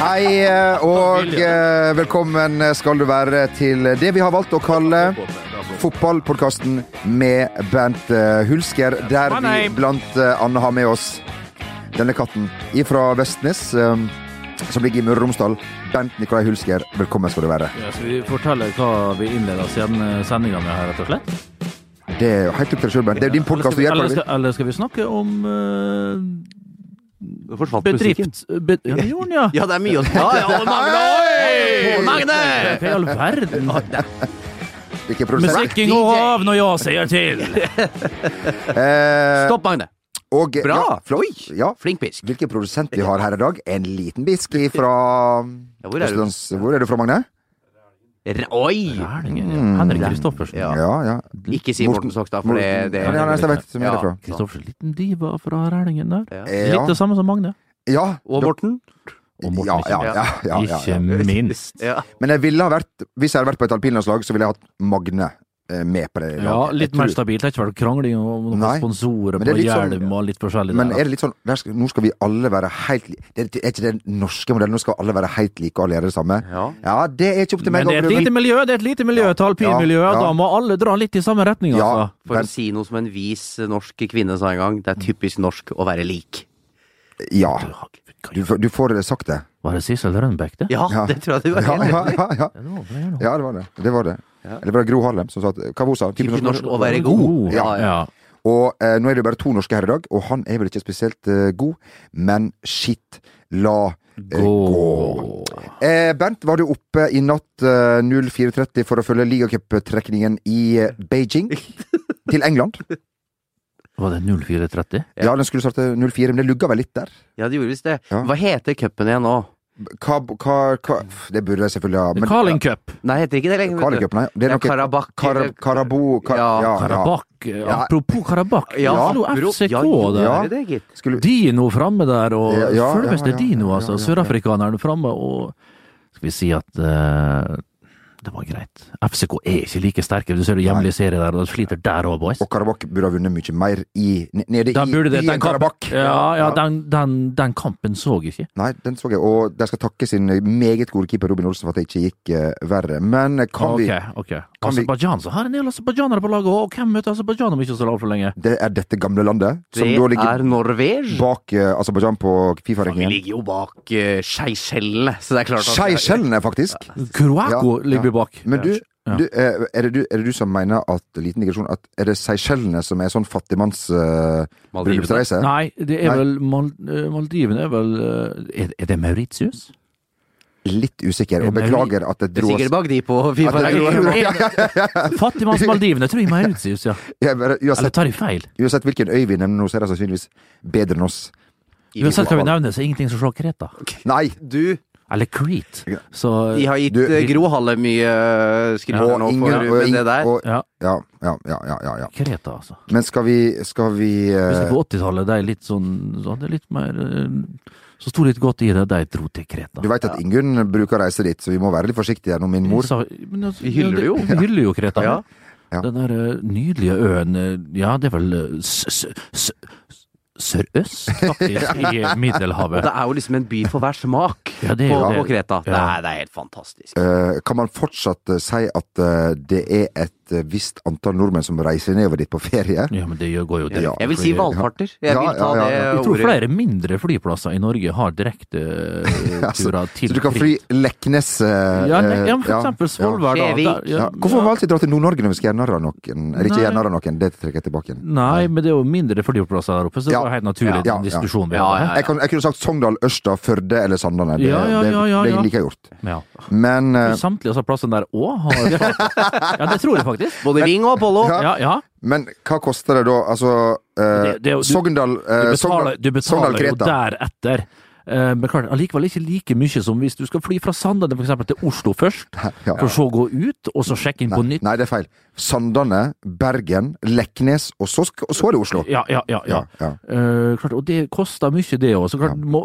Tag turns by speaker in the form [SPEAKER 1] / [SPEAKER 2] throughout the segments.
[SPEAKER 1] Hei, eh, og eh, velkommen skal du være til det vi har valgt å kalle Fotballpodkasten med Bent eh, Hulsker, der
[SPEAKER 2] My
[SPEAKER 1] vi
[SPEAKER 2] name.
[SPEAKER 1] blant eh, annet har med oss denne katten ifra Vestnes, eh, som ligger i Møre og Romsdal. Bent Nikolai Hulsker, velkommen skal du være.
[SPEAKER 2] Ja, skal vi fortelle hva vi innleder sendinga eh, med her, rett og slett?
[SPEAKER 1] Det er jo helt opp til deg sjøl, Bent. Det er jo din podkast du gjør
[SPEAKER 2] eller,
[SPEAKER 1] hva du vil.
[SPEAKER 2] skal, eller skal vi snakke om eh,
[SPEAKER 3] Da forsvant musikken.
[SPEAKER 2] bedrift be, Ja, det gjorde den, ja.
[SPEAKER 3] Ja, det er mye å ta. Ja, det mangler Oi! Eh, Magne!
[SPEAKER 2] Hva i all verden?
[SPEAKER 1] Ikke produsent.
[SPEAKER 2] Musikken går av når jeg sier til!
[SPEAKER 1] Eh,
[SPEAKER 3] Stopp, Magne.
[SPEAKER 1] og, eh,
[SPEAKER 3] Bra!
[SPEAKER 1] ja,
[SPEAKER 3] Oi!
[SPEAKER 1] Ja,
[SPEAKER 3] Flink pisk.
[SPEAKER 1] Hvilken produsent vi har her i dag? En liten bisk fra
[SPEAKER 3] Ja, hvor er du?
[SPEAKER 1] Østlands- Hvor er du fra, Magne?
[SPEAKER 3] R- Oi!
[SPEAKER 2] Erlingen, ja. Henrik Kristoffersen.
[SPEAKER 3] Ja.
[SPEAKER 1] Mm, Ja, ja.
[SPEAKER 3] Ikke si Morten Sokstad, for det, det
[SPEAKER 1] Ja, det er nesten jeg vet som er
[SPEAKER 3] Ja.
[SPEAKER 1] derfra.
[SPEAKER 2] Kristoffersen, liten diva fra Rælingen der.
[SPEAKER 3] Ja.
[SPEAKER 1] Eh,
[SPEAKER 2] Litt det samme som Magne.
[SPEAKER 1] Ja.
[SPEAKER 3] Og Morten?
[SPEAKER 2] Og Morten,
[SPEAKER 1] ja,
[SPEAKER 2] ikke
[SPEAKER 1] ja, ja,
[SPEAKER 2] minst.
[SPEAKER 1] ja, ja, ja.
[SPEAKER 2] Ikke minst.
[SPEAKER 3] Ja.
[SPEAKER 1] Men jeg ville ha vært, hvis jeg hadde vært på et alpinlandslag, så ville jeg hatt Magne eh, med på det.
[SPEAKER 2] Ja,
[SPEAKER 1] laget.
[SPEAKER 2] litt
[SPEAKER 1] Jeg tror-
[SPEAKER 2] mer stabilt. Det er ikke vært krangling om noen
[SPEAKER 1] Nei.
[SPEAKER 2] sponsorer
[SPEAKER 1] Men det
[SPEAKER 2] på
[SPEAKER 1] er litt sånn-
[SPEAKER 2] hjelm og litt forskjellig.
[SPEAKER 1] Men
[SPEAKER 2] der,
[SPEAKER 1] er det litt sånn der skal, Nå skal vi alle være helt li- det Er er ikke den norske modellen? Nå skal alle være helt like og alle gjøre det samme?
[SPEAKER 3] Ja.
[SPEAKER 1] Ja, det er ikke opp til meg.
[SPEAKER 2] Men det er et
[SPEAKER 1] Gabriel.
[SPEAKER 2] lite miljø, det er et lite miljø, et alpinmiljø.
[SPEAKER 1] Ja, ja.
[SPEAKER 2] Da må alle dra litt i samme retning,
[SPEAKER 1] ja,
[SPEAKER 2] altså.
[SPEAKER 3] For
[SPEAKER 1] men,
[SPEAKER 3] å si noe som en vis norsk kvinne sa en gang, det er typisk norsk å være lik.
[SPEAKER 1] ja. Du, får- du får sagt det.
[SPEAKER 2] Var det Sissel Rønbeck, det?
[SPEAKER 3] Ja,
[SPEAKER 1] Ja.
[SPEAKER 3] det tror jeg du er
[SPEAKER 1] Ja,
[SPEAKER 3] helt
[SPEAKER 1] ja, ja, ja.
[SPEAKER 2] det var det, ja.
[SPEAKER 1] Ja, det var det. Det var det.
[SPEAKER 3] Ja.
[SPEAKER 1] Eller var det Gro Harlem som sa at Hva var det hun sa?
[SPEAKER 3] Typisk norsk å være
[SPEAKER 2] God.
[SPEAKER 3] god.
[SPEAKER 2] Ja,
[SPEAKER 1] Ja.
[SPEAKER 2] ja.
[SPEAKER 1] Og eh, nå er det jo bare to norske her i dag, og han er vel ikke spesielt eh, god, men shit, la eh, gå.
[SPEAKER 2] Gå.
[SPEAKER 1] Eh, Bernt, var du oppe i natt eh, 04.30 for å følge ligacuptrekningen i eh, Beijing? Til England?
[SPEAKER 2] Var det 0430?
[SPEAKER 3] Ja.
[SPEAKER 1] Ja, den skulle starte 04, men det lugga vel litt der?
[SPEAKER 3] Ja, det gjorde visst det.
[SPEAKER 1] Ja.
[SPEAKER 3] Hva heter cupen igjen nå?
[SPEAKER 1] Hva, hva, hva pff, Det burde jeg selvfølgelig ha. men-
[SPEAKER 2] Carling Cup.
[SPEAKER 3] Nei, heter ikke det lenger. vet du.
[SPEAKER 1] Carling-cupen, nei. Det er
[SPEAKER 3] Ja,
[SPEAKER 1] noe
[SPEAKER 3] Karabakh.
[SPEAKER 1] Kara- Karabo... Kar,
[SPEAKER 3] Ja,
[SPEAKER 1] ja, ja.
[SPEAKER 2] Karabakh. eh, Apropos Karabakh.
[SPEAKER 3] Ja,
[SPEAKER 2] Oslo
[SPEAKER 3] bro-
[SPEAKER 2] FCK,
[SPEAKER 3] ja, jo,
[SPEAKER 2] det.
[SPEAKER 1] Ja.
[SPEAKER 3] er det, gitt.
[SPEAKER 1] Skulle,
[SPEAKER 2] Dino framme der, og
[SPEAKER 1] Ja, ja,
[SPEAKER 2] selveste
[SPEAKER 1] ja, ja,
[SPEAKER 2] Dino,
[SPEAKER 1] ja,
[SPEAKER 2] altså.
[SPEAKER 1] ja, ja.
[SPEAKER 2] Sørafrikaneren framme, og Skal vi si at eh, det var greit. FCK er ikke like sterke. Du ser jo hjemlige serier der, og de sliter der òg, boys.
[SPEAKER 1] og Karabakh burde ha vunnet mye mer i, nede
[SPEAKER 2] Den burde det,
[SPEAKER 1] i, i
[SPEAKER 2] den kampen,
[SPEAKER 1] Karabakh.
[SPEAKER 2] ja, ja, den, den, den kampen så jeg ikke.
[SPEAKER 1] Nei, den så jeg, og de skal takke sin meget gode keeper Robin Olsen for at det ikke gikk eh, verre. Men kan
[SPEAKER 2] Ok, ok. Aserbajdsjan, så har en del aserbajdsjanere på laget, og hvem møter Aserbajdsjan om ikke så altfor lenge?
[SPEAKER 1] vi Det er dette gamle landet, som
[SPEAKER 3] Det
[SPEAKER 1] da ligger
[SPEAKER 3] er Norvege.
[SPEAKER 1] bak eh, Aserbajdsjan på
[SPEAKER 3] Vi
[SPEAKER 1] Fifa-rankingen.
[SPEAKER 3] ligger jo bak uh, Seychellene, så det er klart at
[SPEAKER 1] Seychellene, faktisk!
[SPEAKER 2] Kroako
[SPEAKER 1] Ja,
[SPEAKER 2] ligger bak.
[SPEAKER 1] Men du,
[SPEAKER 2] Ja.
[SPEAKER 1] du, eh, er, det du, er det du som mener at liten digresjon, at er det Seychellene som er sånn fattigmanns eh,
[SPEAKER 3] Maldivene.
[SPEAKER 1] bryllupsreise?
[SPEAKER 2] Nei, det er
[SPEAKER 1] Nei.
[SPEAKER 2] vel Mal eh, Maldivene er vel eh, Er, er det Mauritius?
[SPEAKER 1] Litt usikker, og
[SPEAKER 2] Men vi-
[SPEAKER 1] beklager at det
[SPEAKER 3] Det er
[SPEAKER 1] dro
[SPEAKER 3] sikkert
[SPEAKER 1] oss
[SPEAKER 3] bak de på
[SPEAKER 1] at det dro- ja,
[SPEAKER 3] Fifa.
[SPEAKER 1] ja, ja,
[SPEAKER 2] Fattigmanns-Maldivene, tror jeg Mauritius, ja.
[SPEAKER 1] ja, bare
[SPEAKER 2] Eller
[SPEAKER 1] uansett,
[SPEAKER 2] tar jeg feil?
[SPEAKER 1] uansett hvilken øy vi nevner nå, så er det sannsynligvis bedre enn oss.
[SPEAKER 2] Uansett hva vi nevner, så er ingenting som slår Kreta.
[SPEAKER 1] Nei!
[SPEAKER 3] Du,
[SPEAKER 2] Eller Crete. Så
[SPEAKER 3] de har gitt
[SPEAKER 1] Du-
[SPEAKER 3] eh, Gro Halle mye eh, skriver
[SPEAKER 1] Og
[SPEAKER 3] nå
[SPEAKER 1] ingen
[SPEAKER 3] for
[SPEAKER 1] og
[SPEAKER 3] men det
[SPEAKER 1] ingen-
[SPEAKER 3] der.
[SPEAKER 1] og-
[SPEAKER 2] Ja,
[SPEAKER 1] Ja, ja, ja, ja, ja, ja.
[SPEAKER 2] Kreta, altså.
[SPEAKER 1] Men skal vi, skal vi eh,
[SPEAKER 2] Hvis det på 80-tallet, de er litt sånn så hadde litt mer eh, Så sto litt godt i det, de dro til Kreta.
[SPEAKER 1] Du veit at Ingunn bruker å reise dit, så vi må være litt forsiktige her nå, min mor.
[SPEAKER 2] Sa- men altså,
[SPEAKER 3] Vi hyller det jo.
[SPEAKER 2] Vi hyller jo Kreta.
[SPEAKER 3] Ja.
[SPEAKER 1] Ja.
[SPEAKER 2] Den der eh, nydelige øen eh, Ja, det er vel eh, s- s- s- s- sørøst, faktisk, i
[SPEAKER 3] Og
[SPEAKER 2] Middelhavet.
[SPEAKER 3] det er jo liksom en by for hver smak
[SPEAKER 2] Ja, det er
[SPEAKER 3] på,
[SPEAKER 2] jo det.
[SPEAKER 3] på Kreta.
[SPEAKER 2] Ja.
[SPEAKER 3] Nei, det er helt fantastisk.
[SPEAKER 1] Eh, kan man fortsatt eh, si at eh, det er et eh, visst antall nordmenn som reiser nedover dit på ferie?
[SPEAKER 2] Ja, men det gjør- går jo det.
[SPEAKER 1] Ja.
[SPEAKER 3] Jeg vil si valfarter. Jeg
[SPEAKER 1] Ja,
[SPEAKER 3] vil ta
[SPEAKER 1] ja, ja, ja.
[SPEAKER 2] Jeg
[SPEAKER 3] det
[SPEAKER 2] tror
[SPEAKER 3] ordet.
[SPEAKER 2] flere mindre flyplasser i Norge har direkte eh,
[SPEAKER 1] Ja, så-
[SPEAKER 2] turer til
[SPEAKER 1] Så du kan fly Leknes eh,
[SPEAKER 2] Ja, ne-
[SPEAKER 1] eh,
[SPEAKER 2] ja, for eksempel Svolvær, da. Der-
[SPEAKER 3] Skjevik.
[SPEAKER 1] Ja.
[SPEAKER 2] ja,
[SPEAKER 1] Hvorfor må vi alltid dra til Nord-Norge når vi skal gjøre narr av noen? Eller ikke
[SPEAKER 2] Nei.
[SPEAKER 1] gjøre narr av noen, det trekker jeg tilbake igjen.
[SPEAKER 2] Nei, men det er jo mindre flyplasser der oppe, så det
[SPEAKER 1] Ja.
[SPEAKER 2] var helt naturlig
[SPEAKER 1] Ja.
[SPEAKER 2] den
[SPEAKER 1] Ja.
[SPEAKER 2] diskusjonen vi
[SPEAKER 3] Ja,
[SPEAKER 2] hadde.
[SPEAKER 1] Jeg, kan, jeg kunne sagt Sogndal, Ørsta, Førde eller Sandane. Det,
[SPEAKER 2] Ja, ja, ja, ja,
[SPEAKER 1] det,
[SPEAKER 2] ja.
[SPEAKER 1] det liker jeg gjort.
[SPEAKER 2] Ja.
[SPEAKER 1] Men eh,
[SPEAKER 2] Samtlige av disse plassene der òg har Ja, det tror jeg faktisk.
[SPEAKER 3] Både Ving og Apollo.
[SPEAKER 1] Ja.
[SPEAKER 2] Ja, ja.
[SPEAKER 1] Men hva koster det da? Altså eh,
[SPEAKER 2] Det- det er jo- du-
[SPEAKER 1] Sogndal eh,
[SPEAKER 2] Du
[SPEAKER 1] Sogndal-
[SPEAKER 2] betaler, du
[SPEAKER 1] Sogndal,
[SPEAKER 2] betaler jo
[SPEAKER 1] Kreta.
[SPEAKER 2] deretter. Eh, Men klart, allikevel ikke like mye som hvis du skal fly fra Sandane for eksempel til Oslo først,
[SPEAKER 1] Ja.
[SPEAKER 2] for så å gå ut, og så sjekke inn på nytt.
[SPEAKER 1] Nei, det er feil. Sandane, Bergen, Leknes, og så, sk- og så er det Oslo.
[SPEAKER 2] Ja, ja, ja. ja.
[SPEAKER 1] ja.
[SPEAKER 2] Eh, klart, og det koster mye, det òg.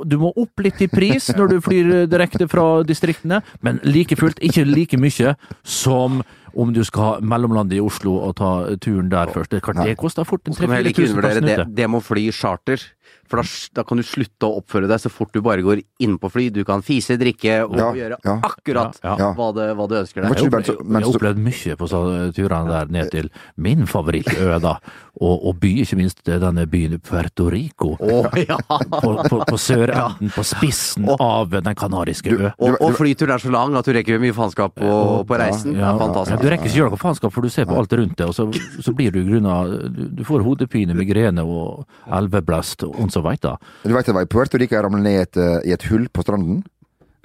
[SPEAKER 2] Du må opp litt i pris når du flyr eh, direkte fra distriktene, men like fullt ikke like mye som om du skal ha mellomlandet i Oslo og ta turen der først. Det, kan,
[SPEAKER 1] Nei.
[SPEAKER 2] det koster fort en
[SPEAKER 3] Skal man heller ikke
[SPEAKER 2] 3000 per
[SPEAKER 3] undervurdere det,
[SPEAKER 2] snute.
[SPEAKER 3] det med å fly charter. For da, da kan du slutte å oppføre deg så fort du bare går inn på fly. Du kan fise, drikke og
[SPEAKER 1] Ja,
[SPEAKER 3] gjøre
[SPEAKER 1] ja.
[SPEAKER 3] akkurat
[SPEAKER 2] Ja,
[SPEAKER 1] ja.
[SPEAKER 3] Hva, du, hva du ønsker
[SPEAKER 1] Men
[SPEAKER 2] Jeg
[SPEAKER 3] deg.
[SPEAKER 1] tror
[SPEAKER 2] har
[SPEAKER 1] bare så- men så-
[SPEAKER 2] opplevd mye på så- turene der ned til min favorittø, da, og, og by, ikke minst denne byen Puerto Rico.
[SPEAKER 3] Å ja!
[SPEAKER 2] På, på, på sørenden, på spissen av den kanariske ø.
[SPEAKER 3] Og, og flyturen er så lang at du rekker mye faenskap på, på reisen. Det
[SPEAKER 2] Ja,
[SPEAKER 3] er
[SPEAKER 2] ja, du
[SPEAKER 3] fantastisk.
[SPEAKER 2] rekker ikke gjøre noe faenskap, for du ser på alt rundt deg, og så, så blir du grunna du, du får hodepine, migrene og elveblest og så veit da.
[SPEAKER 1] Du veit jeg var i Puerto Rico, jeg ramla ned i et, eh, i et hull på stranden.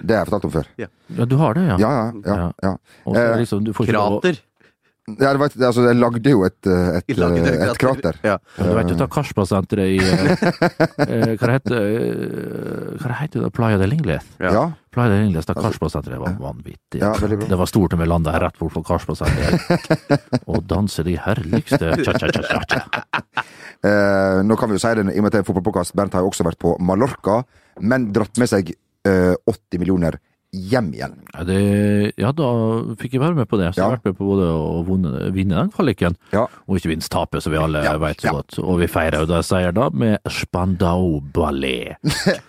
[SPEAKER 1] Det har jeg fortalt om før.
[SPEAKER 2] Ja, du har det, ja.
[SPEAKER 1] Ja, ja, ja. ja.
[SPEAKER 2] Og så
[SPEAKER 1] Eh,
[SPEAKER 2] liksom, du får ikke lov å-
[SPEAKER 3] Krater.
[SPEAKER 1] ja det var, et- altså, jeg lagde jo et, eh, et,
[SPEAKER 3] Lagde
[SPEAKER 1] eh,
[SPEAKER 3] dere
[SPEAKER 1] et krater.
[SPEAKER 3] Ja.
[SPEAKER 2] Ja, du vet jo, ta Karspasenteret i eh, eh, Hva det heter eh, Hva det heter det? Playa del Ingles?
[SPEAKER 3] Ja.
[SPEAKER 1] Ja.
[SPEAKER 2] Playa del Ingles, da Karspasenteret var vanvittig.
[SPEAKER 1] Altså, Ja, veldig bra.
[SPEAKER 2] det var stort når vi landa rett bort på Karspasenteret og danse de herligste cha-cha-cha-cha.
[SPEAKER 1] Eh, nå kan vi jo si det, i og med at det er en fotballpodkast, Bernt har jo også vært på Mallorca, men dratt med seg eh, 80 millioner hjem igjen.
[SPEAKER 2] Ja, det- ja, da fikk jeg være med på det. Så jeg har
[SPEAKER 1] Ja.
[SPEAKER 2] vært med på både å vunne, vinne den kvaliken,
[SPEAKER 1] Ja.
[SPEAKER 2] og ikke minst tape, som vi alle
[SPEAKER 1] Ja,
[SPEAKER 2] vet så
[SPEAKER 1] ja.
[SPEAKER 2] godt. Og vi feirer jo det seier da med Spandau Ballet. Det,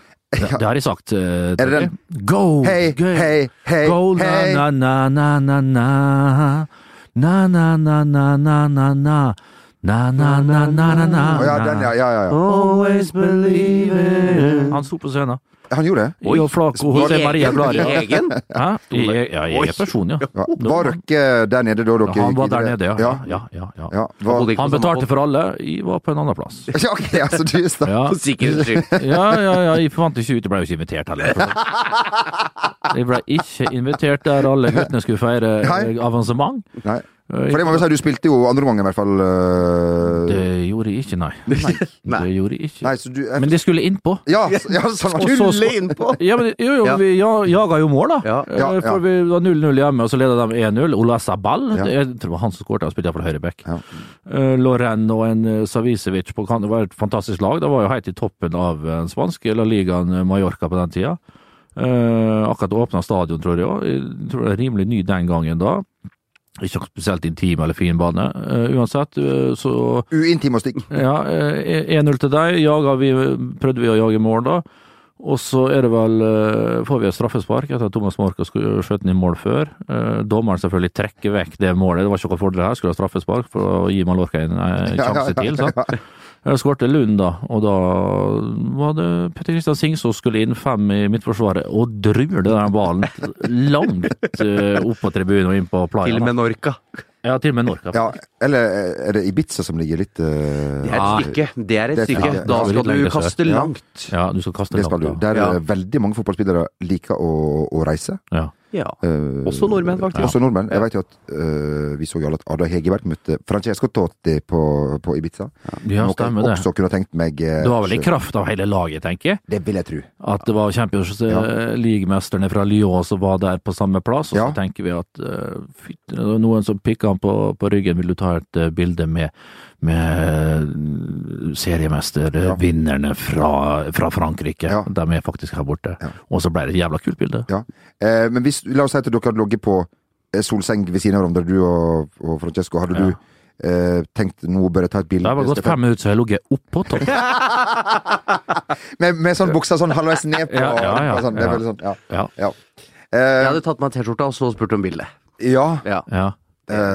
[SPEAKER 2] det har jeg sagt. eh,
[SPEAKER 1] Er det den?
[SPEAKER 2] Go!
[SPEAKER 1] Hei,
[SPEAKER 2] go-
[SPEAKER 1] hei, hei,
[SPEAKER 2] go,
[SPEAKER 1] hei.
[SPEAKER 2] na, na, na, na, na, na, na, na, na, na, na, na. Na, na, na, na, na, na.
[SPEAKER 1] Å ja, den, ja, ja, ja, ja.
[SPEAKER 2] Always believe it. Han sto på scenen.
[SPEAKER 1] Han gjorde det.
[SPEAKER 2] I og Flaco José Maria Glaria.
[SPEAKER 3] I egen?
[SPEAKER 2] Hæ? I, ja, i egen person, ja.
[SPEAKER 1] Ja. Var dere der nede da dere
[SPEAKER 2] Han var der
[SPEAKER 1] videre?
[SPEAKER 2] nede, ja.
[SPEAKER 1] ja.
[SPEAKER 2] ja, ja, ja, ja.
[SPEAKER 1] ja. Var...
[SPEAKER 2] Han
[SPEAKER 3] sånn
[SPEAKER 2] betalte for alle, jeg var på en annen plass.
[SPEAKER 1] ja ok, altså, du stakk.
[SPEAKER 2] Ja,
[SPEAKER 3] For sikkerhets skyld.
[SPEAKER 2] ja, ja, ja jeg fant ikke ut, jeg ble jo ikke invitert heller. Jeg ble ikke invitert der alle guttene skulle feire
[SPEAKER 1] Nei.
[SPEAKER 2] eh, avansement.
[SPEAKER 1] Nei. For det
[SPEAKER 2] Eh,
[SPEAKER 1] må vi si, du spilte jo andre gangen i hvert fall. eh,
[SPEAKER 2] Det gjorde jeg ikke, nei.
[SPEAKER 3] Nei.
[SPEAKER 2] Det gjorde jeg ikke.
[SPEAKER 1] Nei, så du øh,
[SPEAKER 2] Men de skulle innpå.
[SPEAKER 1] Ja, så- ja sånn var det.
[SPEAKER 2] så-
[SPEAKER 3] Rulle innpå!
[SPEAKER 2] Ja, men jo, jo,
[SPEAKER 3] Ja.
[SPEAKER 2] vi ja- jaga jo mål, da.
[SPEAKER 3] Ja,
[SPEAKER 1] ja,
[SPEAKER 2] Eh, For
[SPEAKER 1] ja.
[SPEAKER 2] vi var 0-0 hjemme, og så leda de 1-0. Olasa Ball,
[SPEAKER 1] Ja.
[SPEAKER 2] jeg tror det var han som skåret, han spilte iallfall høyreback.
[SPEAKER 1] Ja.
[SPEAKER 2] Eh, Loren og en eh, Savicevic på kant, det var et fantastisk lag. Det var jo helt i toppen av eh, den spanske La Ligaen eh, Mallorca på den tida. Eh, akkurat åpna stadion, tror jeg òg. Jeg tror det er rimelig ny den gangen da. Ikke noe spesielt intim eller fin bane. Eh, uansett, eh, så
[SPEAKER 1] Uintim og stygg.
[SPEAKER 2] ja, eh, 1-0 til deg. Jaga vi, prøvde vi å jage mål da. Og så er det vel, eh, får vi et straffespark etter at Thomas Marka skulle skjøte den i mål før. Eh, Dommeren selvfølgelig trekker vekk det målet. Det var ikke noe fordel her, skulle ha straffespark for å gi Mallorca en eh, sjanse til. sant? Eh, Skårte Lund, da. Og da var det Petter Kristian Singh som skulle inn fem i midtforsvaret og druler den ballen langt eh, opp på tribunen og inn på playa.
[SPEAKER 3] Til
[SPEAKER 2] da.
[SPEAKER 3] Menorca.
[SPEAKER 2] Ja, til og med Norca.
[SPEAKER 1] Ja, eller øh, er det Ibiza som ligger litt eh,
[SPEAKER 3] Det er et stykke. Det er et
[SPEAKER 1] Det er
[SPEAKER 3] stykke.
[SPEAKER 1] fint.
[SPEAKER 3] Da
[SPEAKER 2] Ja,
[SPEAKER 3] skal
[SPEAKER 2] litt
[SPEAKER 3] du
[SPEAKER 2] lenger sør.
[SPEAKER 3] kaste
[SPEAKER 1] Ja.
[SPEAKER 3] langt.
[SPEAKER 2] Ja, du skal kaste
[SPEAKER 1] Det skal du.
[SPEAKER 2] langt, da.
[SPEAKER 1] Der
[SPEAKER 3] Ja.
[SPEAKER 1] eh, veldig mange fotballspillere liker å, å reise.
[SPEAKER 2] Ja.
[SPEAKER 3] Ja.
[SPEAKER 1] Eh,
[SPEAKER 3] Også nordmenn, faktisk.
[SPEAKER 1] Også nordmenn. Jeg vet jo at eh, vi så jo alle at Ada Hegerberg møtte Francesco Totti på, på Ibiza.
[SPEAKER 2] Ja,
[SPEAKER 1] Noe
[SPEAKER 2] stemmer
[SPEAKER 1] jeg
[SPEAKER 2] det.
[SPEAKER 1] også kunne tenkt meg eh,
[SPEAKER 2] Det var vel i kraft av hele laget, tenker jeg.
[SPEAKER 1] Det vil jeg tro.
[SPEAKER 2] At det var Champions eh, League-mesterne fra Lyon som var der på samme plass. Og
[SPEAKER 1] Ja.
[SPEAKER 2] så tenker vi at eh, fy, det var noen som pikka han på, på ryggen, vil du ta et eh, bilde med, eh, med seriemestervinnerne fra, fra Frankrike?
[SPEAKER 1] Ja.
[SPEAKER 2] De er faktisk her borte.
[SPEAKER 1] Ja.
[SPEAKER 2] Og så ble det et jævla kult bilde.
[SPEAKER 1] Ja. Eh, men hvis, la oss si at dere hadde ligget på eh, solseng ved siden av hverandre, du og, og Francesco. Hadde
[SPEAKER 2] Ja.
[SPEAKER 1] du eh, tenkt nå bør jeg ta et bilde?
[SPEAKER 2] Det har gått fem minutter, så jeg har ligget oppå topp.
[SPEAKER 1] Med, med sånn buksa sånn halvveis ned på.
[SPEAKER 2] Ja, ja, ja,
[SPEAKER 1] og sånn, det er
[SPEAKER 2] ja.
[SPEAKER 1] veldig sånn, ja.
[SPEAKER 2] Ja.
[SPEAKER 1] Ja.
[SPEAKER 3] Jeg
[SPEAKER 1] Eh,
[SPEAKER 3] hadde tatt meg en T-skjorte og så spurt om bilde.
[SPEAKER 1] ja.
[SPEAKER 3] Ja.
[SPEAKER 2] Ja.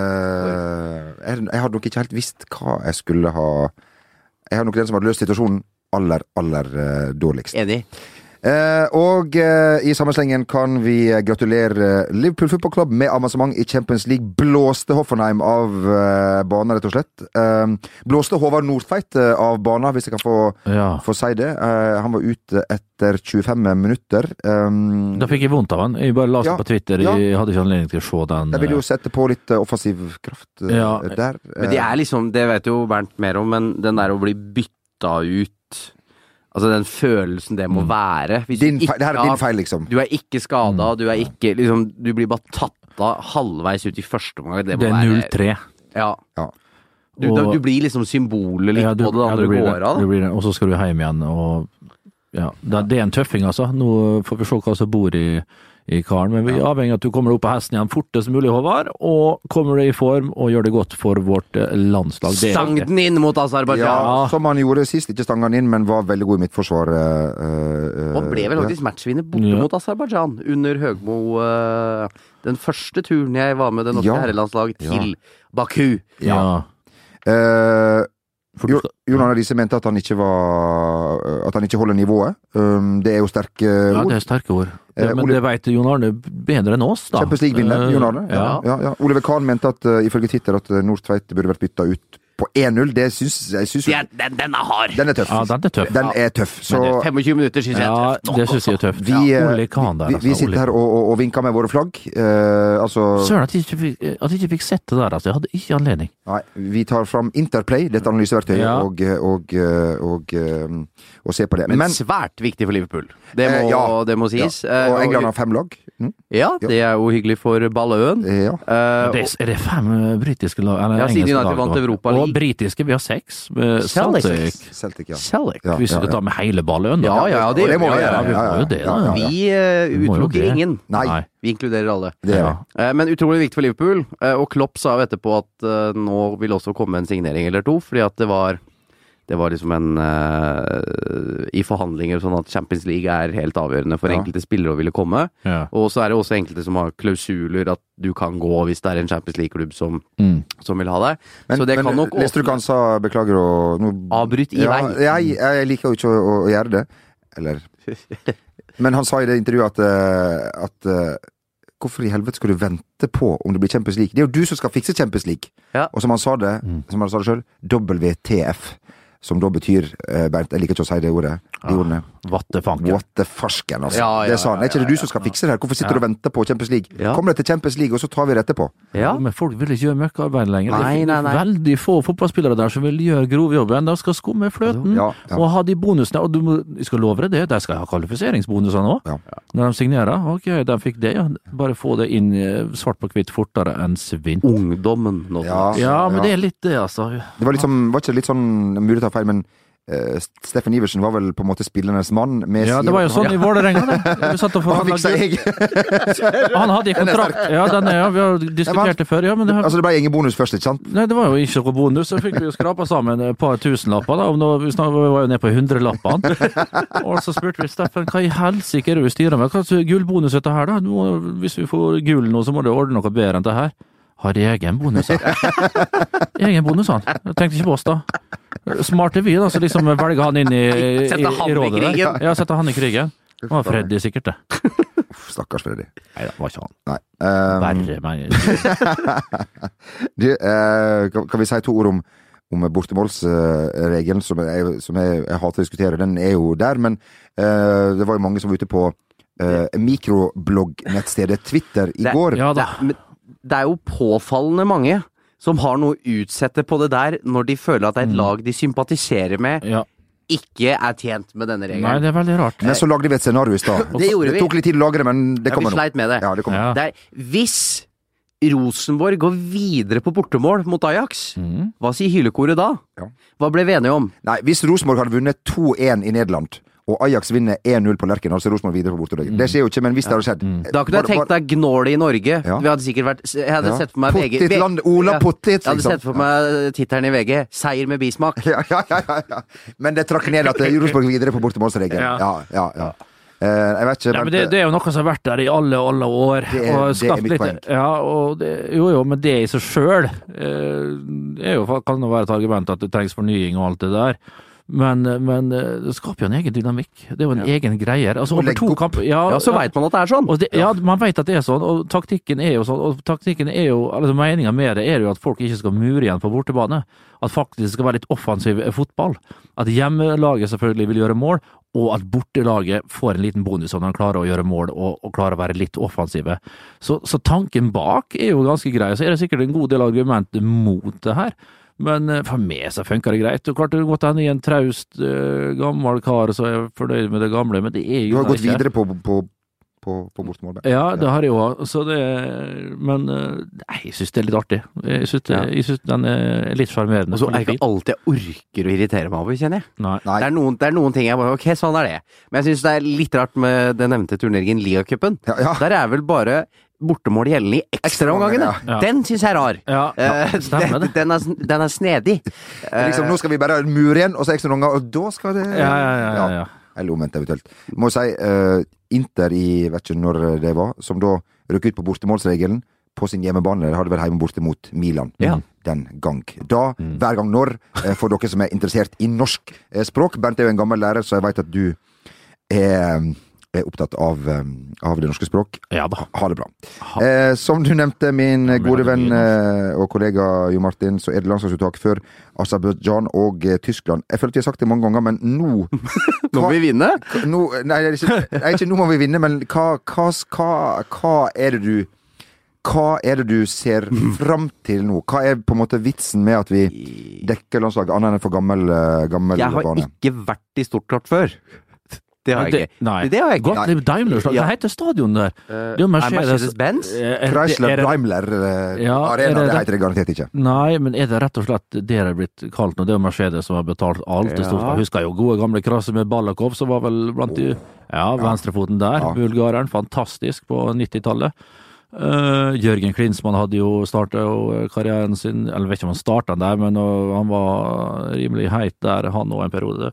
[SPEAKER 1] Eh, jeg, jeg hadde nok ikke helt visst hva jeg skulle ha Jeg hadde nok den som hadde løst situasjonen aller, aller eh, dårligst.
[SPEAKER 3] Enig.
[SPEAKER 1] Eh, og eh, i samme slengen kan vi eh, gratulere Liverpool Football Club med avansement i Champions League. Blåste Hoffenheim av eh, banen, rett og slett. Eh, blåste Håvard Nordtveit eh, av banen, hvis jeg kan få,
[SPEAKER 2] ja.
[SPEAKER 1] få si det. Eh, han var ute etter 25 minutter. Eh,
[SPEAKER 2] Da fikk jeg vondt av han. Jeg bare la det
[SPEAKER 1] Ja.
[SPEAKER 2] på Twitter,
[SPEAKER 1] Ja.
[SPEAKER 2] jeg hadde ikke anledning til å se den.
[SPEAKER 1] Eh, jeg ville jo sette på litt eh, offensiv kraft eh,
[SPEAKER 2] Ja.
[SPEAKER 1] der. Eh,
[SPEAKER 3] Men det er liksom, det vet jo Bernt mer om, men den der å bli bytta ut Altså den følelsen det må være. Hvis
[SPEAKER 1] Mm. din
[SPEAKER 3] du ikke
[SPEAKER 1] feil, det her er
[SPEAKER 3] har-
[SPEAKER 1] din feil, liksom.
[SPEAKER 3] Du er ikke skada, du er ikke liksom, Du blir bare tatt av halvveis ut i første omgang. Det,
[SPEAKER 2] eh,
[SPEAKER 3] må
[SPEAKER 2] Det er
[SPEAKER 3] være-
[SPEAKER 2] 0-3.
[SPEAKER 3] Ja.
[SPEAKER 1] Ja.
[SPEAKER 3] Du,
[SPEAKER 2] Og-
[SPEAKER 3] da- du blir liksom symbolet litt
[SPEAKER 2] Ja, du-
[SPEAKER 3] på det da
[SPEAKER 2] ja,
[SPEAKER 3] når
[SPEAKER 2] du
[SPEAKER 3] du
[SPEAKER 2] blir
[SPEAKER 3] går
[SPEAKER 2] det.
[SPEAKER 3] av.
[SPEAKER 2] Du
[SPEAKER 3] da.
[SPEAKER 2] blir det. Og så skal du hjem igjen og ja. det, det er en tøffing, altså. Nå får vi se hva som bor i, i karen. Men vi er avhengig av at du kommer deg opp på hesten igjen fortest mulig, Håvard, og kommer deg i form og gjør det godt for vårt eh, landslag. Det er-
[SPEAKER 3] Stang den inn mot Aserbajdsjan!
[SPEAKER 1] Ja, som han gjorde sist. Ikke stanga han inn, men var veldig god i midtforsvar. eh, eh,
[SPEAKER 3] Og ble vel
[SPEAKER 1] ja.
[SPEAKER 3] faktisk matchvinner borte
[SPEAKER 2] Ja.
[SPEAKER 3] mot Aserbajdsjan under Høgmo. eh, den første turen jeg var med det norske
[SPEAKER 1] Ja.
[SPEAKER 3] herrelandslaget til Baku.
[SPEAKER 2] Ja.
[SPEAKER 1] Eh,
[SPEAKER 2] For
[SPEAKER 1] Jo-
[SPEAKER 2] du skal-
[SPEAKER 1] Jon Arne Riise mente at han ikke var eh, At han ikke holder nivået. Um, det er jo sterke
[SPEAKER 2] ja,
[SPEAKER 1] ord.
[SPEAKER 2] det er sterke ord.
[SPEAKER 1] Eh,
[SPEAKER 2] Ja, men
[SPEAKER 1] Ole-
[SPEAKER 2] det veit Jon Arne bedre enn oss, da.
[SPEAKER 1] Champions League-vinner,
[SPEAKER 2] Eh,
[SPEAKER 1] Jon Arne. Ja,
[SPEAKER 2] Ja.
[SPEAKER 1] ja, ja. Oliver Kahn mente at eh, ifølge Twitter at eh, Nordtveit burde vært bytta ut på 1-0. Det syns jeg syns,
[SPEAKER 3] Det er- Den, den er hard!
[SPEAKER 1] Den er tøff.
[SPEAKER 2] ja, den er tøff.
[SPEAKER 1] Den er tøff. Så
[SPEAKER 3] Men det er 25 Eh, minutter syns jeg
[SPEAKER 2] Ja,
[SPEAKER 3] er tøft nok.
[SPEAKER 2] det syns jeg er tøft.
[SPEAKER 1] vi, eh,
[SPEAKER 2] Ole Kahn der,
[SPEAKER 1] vi, vi
[SPEAKER 2] altså, Ole
[SPEAKER 1] sitter her og, og, og vinker med våre flagg. Eh, altså
[SPEAKER 2] Søren at jeg ikke fikk, at jeg ikke fikk sett det der, altså. Jeg hadde ikke anledning.
[SPEAKER 1] Nei, vi tar fram Interplay, dette analyseverktøyet,
[SPEAKER 2] Ja.
[SPEAKER 1] og, og, eh, og, og, og ser på det.
[SPEAKER 3] Men,
[SPEAKER 1] Men,
[SPEAKER 3] svært viktig for Liverpool. Det må,
[SPEAKER 1] Eh, ja.
[SPEAKER 3] det må
[SPEAKER 1] ja.
[SPEAKER 3] sies. Eh,
[SPEAKER 1] Og England har fem lag. Mm,
[SPEAKER 3] Ja, det er jo hyggelig for Balløen.
[SPEAKER 1] eh, ja.
[SPEAKER 3] Eh,
[SPEAKER 2] Det er det fem eh, britiske lag eller
[SPEAKER 3] Ja, siden
[SPEAKER 2] engelske
[SPEAKER 3] United
[SPEAKER 2] lag,
[SPEAKER 3] vant
[SPEAKER 2] da.
[SPEAKER 3] Europa
[SPEAKER 2] Og
[SPEAKER 3] League.
[SPEAKER 2] britiske, vi har seks. med
[SPEAKER 3] Celtic.
[SPEAKER 2] Celtic.
[SPEAKER 1] Celtic, ja.
[SPEAKER 3] Selleck.
[SPEAKER 1] Ja,
[SPEAKER 2] Hvis
[SPEAKER 1] ja,
[SPEAKER 2] du
[SPEAKER 1] ja.
[SPEAKER 2] tar med hele ballen, da.
[SPEAKER 3] Ja, ja, ja, det,
[SPEAKER 1] Og det må
[SPEAKER 3] gjør
[SPEAKER 1] vi
[SPEAKER 3] ja,
[SPEAKER 1] gjøre.
[SPEAKER 2] vi
[SPEAKER 1] Ja,
[SPEAKER 2] må
[SPEAKER 1] ja,
[SPEAKER 2] jo det, da.
[SPEAKER 1] ja, ja.
[SPEAKER 3] Vi eh,
[SPEAKER 2] Vi må jo
[SPEAKER 3] utelukker
[SPEAKER 2] det.
[SPEAKER 3] ingen.
[SPEAKER 1] Nei,
[SPEAKER 2] Nei.
[SPEAKER 3] Vi inkluderer alle.
[SPEAKER 1] det er
[SPEAKER 2] Ja.
[SPEAKER 1] det.
[SPEAKER 3] Eh, Men utrolig viktig for Liverpool. eh, Og Klopp sa jo etterpå at eh, nå vil også komme en signering eller to, fordi at det var det var liksom en eh, I forhandlinger sånn at Champions League er helt avgjørende for
[SPEAKER 1] Ja.
[SPEAKER 3] enkelte spillere å ville komme.
[SPEAKER 2] Ja.
[SPEAKER 3] Og så er det også enkelte som har klausuler at du kan gå hvis det er en Champions League-klubb som,
[SPEAKER 2] Mm.
[SPEAKER 3] som vil ha deg.
[SPEAKER 1] Men,
[SPEAKER 3] så det
[SPEAKER 1] men
[SPEAKER 3] kan nok
[SPEAKER 1] leste du hva han sa? Beklager å nå,
[SPEAKER 3] Avbryt i
[SPEAKER 1] ja,
[SPEAKER 3] vei.
[SPEAKER 1] Jeg, jeg liker jo ikke å, å gjøre det. Eller Men han sa i det intervjuet at, eh, at eh, Hvorfor i helvete skal du vente på om det blir Champions League? Det er jo du som skal fikse Champions League!
[SPEAKER 3] Ja. Mm.
[SPEAKER 1] Og som han sa det, som han sa det sjøl, WTF. Som da betyr, eh, Bernt, jeg liker ikke å si det ordet,
[SPEAKER 3] Ah.
[SPEAKER 1] de ordene.
[SPEAKER 2] Vattefanken.
[SPEAKER 1] What the farsken, altså.
[SPEAKER 3] Ja, ja,
[SPEAKER 1] det sa han.
[SPEAKER 3] ja,
[SPEAKER 1] Er ikke det
[SPEAKER 3] ja,
[SPEAKER 1] du som skal fikse det her? Hvorfor sitter du og venter på Champions League?
[SPEAKER 3] Ja.
[SPEAKER 1] Kom deg til Champions League, og så tar vi det etterpå.
[SPEAKER 3] Ja.
[SPEAKER 2] Men folk vil ikke gjøre møkkaarbeid lenger. Det er
[SPEAKER 3] Nei, nei, nei.
[SPEAKER 2] Veldig få fotballspillere der som vil gjøre grovjobben. De skal skumme fløten
[SPEAKER 1] Ja, ja.
[SPEAKER 2] og ha de bonusene. Og du må, jeg skal love deg det, de skal ha kvalifiseringsbonuser nå.
[SPEAKER 1] Ja.
[SPEAKER 2] Når de signerer. Ok, de fikk det, ja. Bare få det inn eh, svart på hvitt fortere enn svinn.
[SPEAKER 3] Ungdommen nå.
[SPEAKER 1] Ja.
[SPEAKER 2] Ja, men det er litt det, altså.
[SPEAKER 1] Det var, litt sånn- var ikke det litt sånn mulig å ta feil, men eh, Steffen Iversen var vel på en måte spillernes mann? Med
[SPEAKER 2] Ja,
[SPEAKER 1] sin-
[SPEAKER 2] det var jo sånn i Vålerenga, det. Vi satt og
[SPEAKER 1] Han fikk seg
[SPEAKER 2] forhandla
[SPEAKER 1] egen
[SPEAKER 2] Han hadde i kontrakt Ja, den er, ja, vi har diskutert det før, ja, men det, har-
[SPEAKER 1] Altså, det ble egen bonus først, ikke sant?
[SPEAKER 2] Nei, det var jo ikke noe bonus. Så fikk vi jo skrapa sammen et par tusenlapper, da. Om nå- vi snak- vi var jo nede på hundrelappene. Og så spurte vi Steffen hva i helsike er det du styrer med? Hva slags gullbonus er dette her, da? Du må, hvis vi får gull nå, så må du ordne noe bedre enn det her. Har de egen bonus, da? Egen bonus, han. Jeg tenkte ikke på oss, da. Smarte vi, da, så liksom velger han inn i, i,
[SPEAKER 3] Sette han
[SPEAKER 2] i
[SPEAKER 3] i
[SPEAKER 2] rådet
[SPEAKER 3] krigen.
[SPEAKER 2] der. Ja, sette han i krigen. Det var Freddy, sikkert, det.
[SPEAKER 1] Uff, Stakkars Freddy.
[SPEAKER 2] Nei, det var ikke han.
[SPEAKER 1] Nei. Eh,
[SPEAKER 2] Verre, men
[SPEAKER 1] du, eh, kan kan vi si to ord om, om bortemålsregelen, som, jeg, som jeg, jeg hater å diskutere? Den er jo der, men eh, det var jo mange som var ute på eh, mikrobloggnettstedet Twitter i
[SPEAKER 3] Det-
[SPEAKER 1] går.
[SPEAKER 2] Ja
[SPEAKER 3] Det,
[SPEAKER 2] da.
[SPEAKER 3] men det er jo påfallende mange som har noe å utsette på det der, når de føler at det er et lag de sympatiserer med,
[SPEAKER 2] Ja.
[SPEAKER 3] ikke er tjent med denne
[SPEAKER 2] Nei,
[SPEAKER 3] regelen.
[SPEAKER 2] det er veldig rart.
[SPEAKER 1] Men så lagde vi et scenario i stad.
[SPEAKER 3] Eh, Det gjorde vi.
[SPEAKER 1] tok litt tid å lage det, men det
[SPEAKER 3] Ja, vi
[SPEAKER 1] kommer nå.
[SPEAKER 3] sleit med det.
[SPEAKER 1] Ja, det kommer.
[SPEAKER 2] Ja.
[SPEAKER 3] det er, hvis Rosenborg går videre på bortemål mot Ajax,
[SPEAKER 2] Mhm.
[SPEAKER 3] hva sier hylekoret da?
[SPEAKER 1] Ja.
[SPEAKER 3] Hva ble vi enige om?
[SPEAKER 1] Nei, hvis Rosenborg hadde vunnet 2-1 i Nederland, og Ajax vinner 1-0 på Lerken, altså Rosenborg videre på bortelag Det skjer jo ikke, men hvis det hadde skjedd
[SPEAKER 2] Mm.
[SPEAKER 3] Da kunne jeg tenkt deg gnålet i Norge.
[SPEAKER 1] Ja.
[SPEAKER 3] Vi hadde sikkert vært Jeg hadde
[SPEAKER 1] Ja.
[SPEAKER 3] sett for meg VG
[SPEAKER 1] Pottit land, Ola
[SPEAKER 3] Ja.
[SPEAKER 1] Pottit,
[SPEAKER 3] Jeg hadde
[SPEAKER 1] liksom.
[SPEAKER 3] sett for meg tittelen i VG. 'Seier med bismak'.
[SPEAKER 1] ja, ja, ja, ja, ja. Men det trakk ned at eh, Rosenborg videre på bortemålsregelen.
[SPEAKER 2] Ja.
[SPEAKER 1] Ja, ja, ja. Eh, jeg vet ikke,
[SPEAKER 2] Nei, men det,
[SPEAKER 1] Bernt,
[SPEAKER 2] det er jo noe som har vært der i alle alle år.
[SPEAKER 1] Det er-
[SPEAKER 2] og
[SPEAKER 1] det er
[SPEAKER 2] skapt
[SPEAKER 1] mitt
[SPEAKER 2] litt-
[SPEAKER 1] poeng.
[SPEAKER 2] Ja, og det, jo jo, men det i seg sjøl eh, er jo, kan jo være et argument at det trengs fornying og alt det der. Men, men eh, det skaper jo en egen dynamikk. Det er jo en egen greie. her. Altså,
[SPEAKER 1] Og
[SPEAKER 2] over
[SPEAKER 1] legge
[SPEAKER 2] to
[SPEAKER 1] opp.
[SPEAKER 2] kamp, ja,
[SPEAKER 3] Ja, så veit man at det er sånn.
[SPEAKER 2] og det, ja, man veit at det er sånn, og taktikken er jo sånn. Og taktikken er jo, altså Meninga med det er jo at folk ikke skal mure igjen på bortebane. At faktisk skal være litt offensiv eh, fotball. At hjemmelaget selvfølgelig vil gjøre mål, og at bortelaget får en liten bonus om de klarer å gjøre mål og, og klarer å være litt offensive. Så, så tanken bak er jo ganske grei. Så er det sikkert en god del argumenter mot det her. Men eh, for meg så funker det greit. Og klart det kan godt hende i en traust, eh, gammel kar som er fornøyd med det gamle, men det er
[SPEAKER 1] du
[SPEAKER 2] jo
[SPEAKER 1] har gått videre på, på, på på, på bortemål. der.
[SPEAKER 2] Ja, det har jeg jo òg, så det Men eh, nei, jeg syns det er litt artig. Jeg syns
[SPEAKER 3] Ja.
[SPEAKER 2] den er litt sjarmerende.
[SPEAKER 3] Og så er
[SPEAKER 2] litt
[SPEAKER 3] det ikke alt jeg orker å irritere meg over, kjenner jeg.
[SPEAKER 2] fin. Nei.
[SPEAKER 1] Nei.
[SPEAKER 3] Det er, noen, det er noen ting jeg bare Ok, sånn er det. Men jeg syns det er litt rart med den nevnte turneringen, ligacupen.
[SPEAKER 1] Ja, ja.
[SPEAKER 3] Der er vel bare bortemål gjeldende i ekstraomgangene.
[SPEAKER 1] Ekstraomganger,
[SPEAKER 2] ja.
[SPEAKER 3] Den syns jeg er rar.
[SPEAKER 2] Ja,
[SPEAKER 3] Eh,
[SPEAKER 2] ja, stemmer
[SPEAKER 3] den,
[SPEAKER 2] det.
[SPEAKER 3] den, er, sn- den er snedig.
[SPEAKER 1] Det er Liksom, nå skal vi bare mure igjen, og så ekstra noen ganger, og da skal det
[SPEAKER 2] Ja, ja, ja. ja, ja.
[SPEAKER 1] Eller omvendt, eventuelt. Må jo si eh, Inter i vet ikke når det var, som da røk ut på bortemålsregelen på sin hjemmebane. De hadde vel hjemme borte mot Milan
[SPEAKER 3] Ja.
[SPEAKER 1] den gang. Da,
[SPEAKER 2] Mm.
[SPEAKER 1] hver gang når, eh, for dere som er interessert i norsk eh, språk. Bernt er jo en gammel lærer, så jeg veit at du er, er opptatt av, eh, av det norske språk.
[SPEAKER 2] ja da.
[SPEAKER 1] Ha det bra.
[SPEAKER 2] Ha-
[SPEAKER 1] Eh, som du nevnte, min
[SPEAKER 2] Ja, men
[SPEAKER 1] gode
[SPEAKER 2] det er
[SPEAKER 1] venn
[SPEAKER 2] mye
[SPEAKER 1] eh, og kollega Jo Martin, så er det landslagsuttak for Aserbajdsjan og eh, Tyskland. Jeg føler at jeg har sagt det mange ganger, men nå
[SPEAKER 3] Nå Eh, må vi vinne.
[SPEAKER 1] hva- nå, Nei, det er ikke, nei, ikke nå må vi vinne, men hva, hva, hva, hva er det du Hva er det du ser fram til nå? Hva er på en måte vitsen med at vi dekker landslaget, annet enn for gammel, eh, gammel
[SPEAKER 3] Jeg har
[SPEAKER 1] bane?
[SPEAKER 3] ikke vært i stortklart før. Det har jeg ikke.
[SPEAKER 2] Nei.
[SPEAKER 3] Det har jeg ikke.
[SPEAKER 2] Gottlieb Daimler-slag.
[SPEAKER 3] Ja.
[SPEAKER 2] Hva heter stadionet der?
[SPEAKER 3] Eh,
[SPEAKER 2] Det er
[SPEAKER 3] er
[SPEAKER 2] Mercedes-
[SPEAKER 3] Mercedes-Benz?
[SPEAKER 2] Er- er- er
[SPEAKER 1] Chrysler
[SPEAKER 2] det-
[SPEAKER 1] Daimler eh,
[SPEAKER 2] Ja, er
[SPEAKER 1] Arena,
[SPEAKER 2] det
[SPEAKER 1] det heter
[SPEAKER 2] det?
[SPEAKER 1] det garantert ikke.
[SPEAKER 2] Nei, men er det rett og slett det det er blitt kalt nå? Det er jo Mercedes som har betalt alt. det stort.
[SPEAKER 3] Ja.
[SPEAKER 2] Jeg husker jo gode gamle krasset med Balakov, som var vel blant de Ja, venstrefoten der.
[SPEAKER 1] Ja.
[SPEAKER 2] Bulgareren, fantastisk på 90-tallet. Eh, Jørgen Klinsmann hadde jo starta karrieren sin Eller jeg vet ikke om han starta den der, men eh, han var rimelig heit der, han òg, en periode.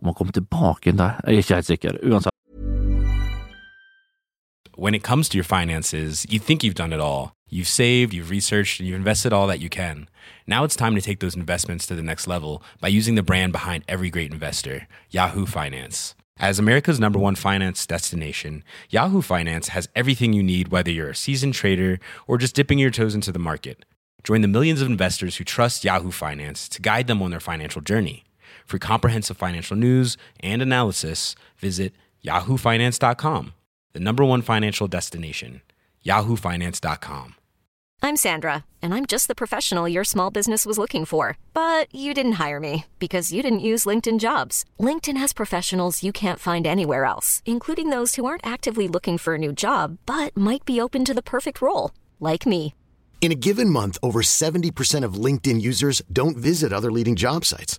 [SPEAKER 2] Om han kom tilbake inn der, jeg er ikke helt sikker. Uansett.
[SPEAKER 4] When it comes to your finances, you think you've done it all. You've saved, you've researched, and you've invested all that you can. Now it's time to take those investments to the next level by using the brand behind every great investor, Yahoo Finance. As America's number one finance destination, Yahoo Finance has everything you need, whether you're a seasoned trader or just dipping your toes into the market. Join the millions of investors who trust Yahoo Finance to guide them on their financial journey. For comprehensive financial news and analysis, visit yahoofinance.com the number one financial destination, yahoofinance.com.
[SPEAKER 5] I'm Sandra, and I'm just the professional your small business was looking for. But you didn't hire me because you didn't use LinkedIn jobs. LinkedIn has professionals you can't find anywhere else, including those who aren't actively looking for a new job but might be open to the perfect role, like me.
[SPEAKER 6] In a given month, over 70% of LinkedIn users don't visit other leading job sites.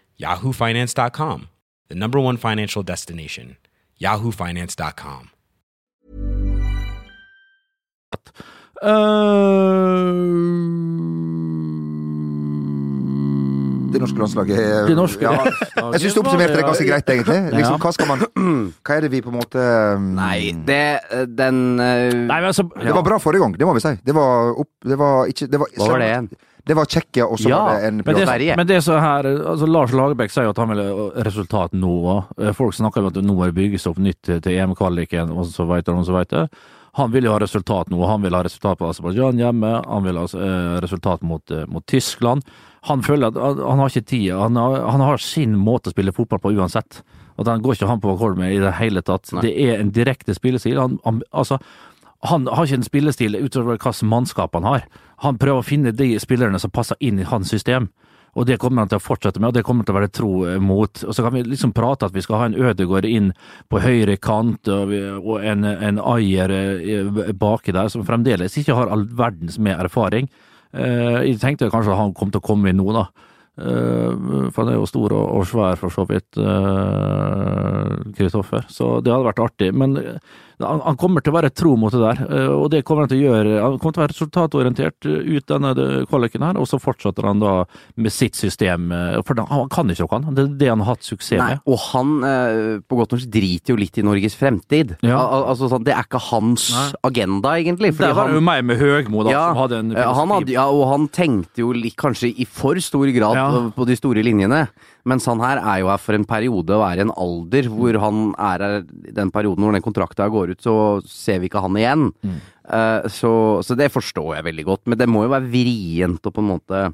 [SPEAKER 4] yahoofinance.com, the number one financial destination, yahoofinance.com.
[SPEAKER 2] Eh,
[SPEAKER 1] Det norske landslaget er-
[SPEAKER 2] Det norske
[SPEAKER 1] ja.
[SPEAKER 2] landslaget
[SPEAKER 1] Jeg syns du oppsummerte det ganske greit, egentlig. Liksom,
[SPEAKER 2] Eh, Ja.
[SPEAKER 1] hva, skal man, hva er det vi på en måte um,
[SPEAKER 3] Nei, det eh, Den eh,
[SPEAKER 2] Nei, men altså
[SPEAKER 1] Det var bra forrige gang, det må vi si. Det var, opp, det var ikke det var,
[SPEAKER 3] Hva var det igjen?
[SPEAKER 1] Det var Tsjekkia, og så
[SPEAKER 3] Ja,
[SPEAKER 1] var det en
[SPEAKER 2] Men det,
[SPEAKER 1] plass-
[SPEAKER 3] Sverige.
[SPEAKER 2] men det som er her, altså Lars Lagerbäck sier jo at han vil ha resultat Eh, nå òg. Folk snakker om at nå må det bygges opp nytt til- til EM-kvaliken, og så veit det, og så veit det. Han vil jo ha resultat nå. Han vil ha resultat på Aserbajdsjan hjemme, han vil ha eh, resultat mot, eh, mot Tyskland. Han føler at han, han har ikke tid. Han har, han har sin måte å spille fotball på uansett. Og den går ikke han på akkord med i det hele tatt. Det er en direkte spillestil. Han, han, altså, han har ikke en spillestil utover hva slags mannskap han har. Han prøver å finne de spillerne som passer inn i hans system. Og det kommer han til å fortsette med, og det kommer til å være tro eh, mot. Og så kan vi liksom prate at vi skal ha en Ødegaard inn på høyre kant, og, vi, og en, en Ayer eh, baki der, som fremdeles ikke har all verdens med erfaring. Eh, jeg tenkte kanskje han kom til å komme inn nå, da. Eh, for han er jo stor og, og svær, for så vidt, eh, Kristoffer. så det hadde vært artig. Men eh, han, han kommer til å være tro mot det der, eh, og det kommer han til å gjøre. Han kommer til å være resultatorientert eh, ut denne eh, kvaliken her, og så fortsetter han da med sitt system. eh, For da- han kan ikke noe, han. Det er det han har hatt suksess
[SPEAKER 3] Nei,
[SPEAKER 2] med.
[SPEAKER 3] og han eh, på godt norsk driter jo litt i Norges fremtid.
[SPEAKER 2] Ja.
[SPEAKER 3] Al altså, sånn, det er ikke hans
[SPEAKER 2] Nei.
[SPEAKER 3] agenda, egentlig. fordi
[SPEAKER 2] Der har
[SPEAKER 3] han-
[SPEAKER 2] du meg med Høgmo, da, som hadde en
[SPEAKER 3] eh, han hadde, ja, og han tenkte jo litt, kanskje i for stor grad
[SPEAKER 2] Ja.
[SPEAKER 3] på- på de store linjene. Mens han her er jo her for en periode og er i en alder hvor han er her i den perioden hvor den kontrakta går ut, så ser vi ikke han igjen.
[SPEAKER 2] Mm.
[SPEAKER 3] Eh, så, så det forstår jeg veldig godt. Men det må jo være vrient og på en måte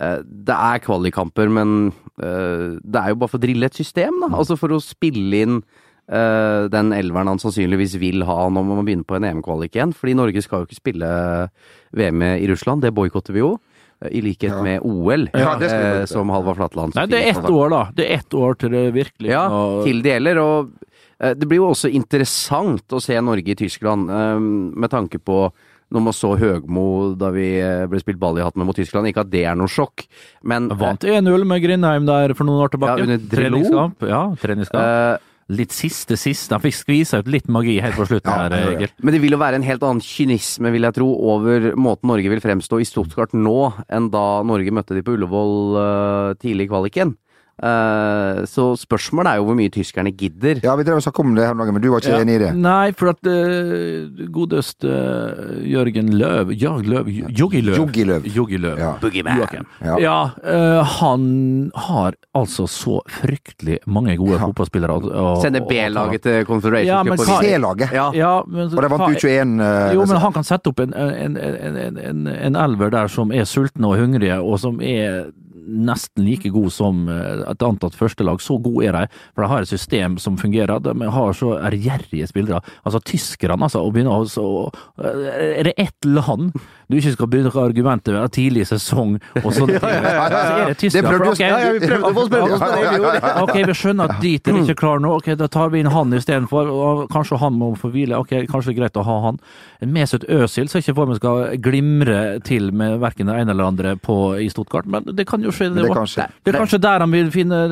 [SPEAKER 3] eh, det er kvalikkamper, men eh, det er jo bare for å drille et system,
[SPEAKER 2] Mm.
[SPEAKER 3] da. Altså for å spille inn eh, den elveren han sannsynligvis vil ha når man begynner på en EM-kvalik igjen. Fordi Norge skal jo ikke spille VM i Russland, det boikotter vi jo. eh, I likhet med OL,
[SPEAKER 1] Ja, det skal vi
[SPEAKER 3] eh,
[SPEAKER 1] boykotte.
[SPEAKER 3] som Halvard Flatland
[SPEAKER 2] Nei, det er ett år, da. Det er ett år til det virkelig
[SPEAKER 3] Ja,
[SPEAKER 2] og-
[SPEAKER 3] til det gjelder. Og eh, det blir jo også interessant å se Norge i Tyskland, eh, med tanke på når man så Høgmo da vi eh, ble spilt ball i hatten mot Tyskland. Ikke at det er noe sjokk, men eh,
[SPEAKER 2] Vant 1-0 med Grindheim der for noen år tilbake.
[SPEAKER 3] Ja, under Drillo.
[SPEAKER 2] treningskamp. Ja, treningskamp.
[SPEAKER 3] eh,
[SPEAKER 2] Litt siste sist. Han fikk skvisa ut litt magi helt på slutten
[SPEAKER 1] Ja,
[SPEAKER 2] her,
[SPEAKER 1] ja, ja.
[SPEAKER 2] Egil.
[SPEAKER 3] Men det vil jo være en helt annen kynisme, vil jeg tro, over måten Norge vil fremstå i Stuttgart nå, enn da Norge møtte de på Ullevål eh, tidlig i kvaliken. Eh, så spørsmålet er jo hvor mye tyskerne gidder.
[SPEAKER 1] Ja, vi drev og snakket om det her om dagen, men du var ikke enig i det?
[SPEAKER 2] Nei, for at eh, godeste eh, Jørgen Løv Jørg Løv? Jogi Løv.
[SPEAKER 1] Jogi Löw.
[SPEAKER 2] Jogi Løv.
[SPEAKER 1] Ja.
[SPEAKER 2] Joakim.
[SPEAKER 1] Ja.
[SPEAKER 2] Ja, eh, han har altså så fryktelig mange gode fotballspillere. å- å-
[SPEAKER 3] Sende
[SPEAKER 2] å-
[SPEAKER 3] B-laget til Confederation
[SPEAKER 2] Ja, men
[SPEAKER 3] Cup. og
[SPEAKER 2] hva-
[SPEAKER 3] vinne.
[SPEAKER 1] C-laget.
[SPEAKER 3] Ja.
[SPEAKER 2] Ja, men,
[SPEAKER 1] Og de vant
[SPEAKER 2] hva-
[SPEAKER 1] U21. eh,
[SPEAKER 2] Jo, men han kan sette opp en, en, en, en, en, en elver der som er sultne og hungrige, og som er nesten like god som eh, et antatt førstelag. Så god er de, for de har et system som fungerer. De har så ærgjerrige spillere. Altså tyskerne, altså. Og begynner også, å- eh, er det ett land du ikke skal begynne å argumentere med tidlig sesong og sånne ting?
[SPEAKER 1] ja, ja.
[SPEAKER 2] Så er det
[SPEAKER 1] Det
[SPEAKER 2] tyskerne.
[SPEAKER 1] prøvde
[SPEAKER 2] for
[SPEAKER 1] vi å-
[SPEAKER 2] ok,
[SPEAKER 1] ja, ja, vi prøvde å få oss med det. Ja, ja, ja, ja.
[SPEAKER 2] Ok, vi skjønner at dit er vi ikke klar nå. Ok, Da tar vi inn han istedenfor. og Kanskje han må få hvile. Ok, Kanskje det er greit å ha han. En Mesut Özil ser ikke for meg skal glimre til med verken det ene eller det andre på, i Stuttgart, men det kan jo skje.
[SPEAKER 1] Men det
[SPEAKER 2] også.
[SPEAKER 1] kan skje.
[SPEAKER 2] det er kanskje der han vil finne,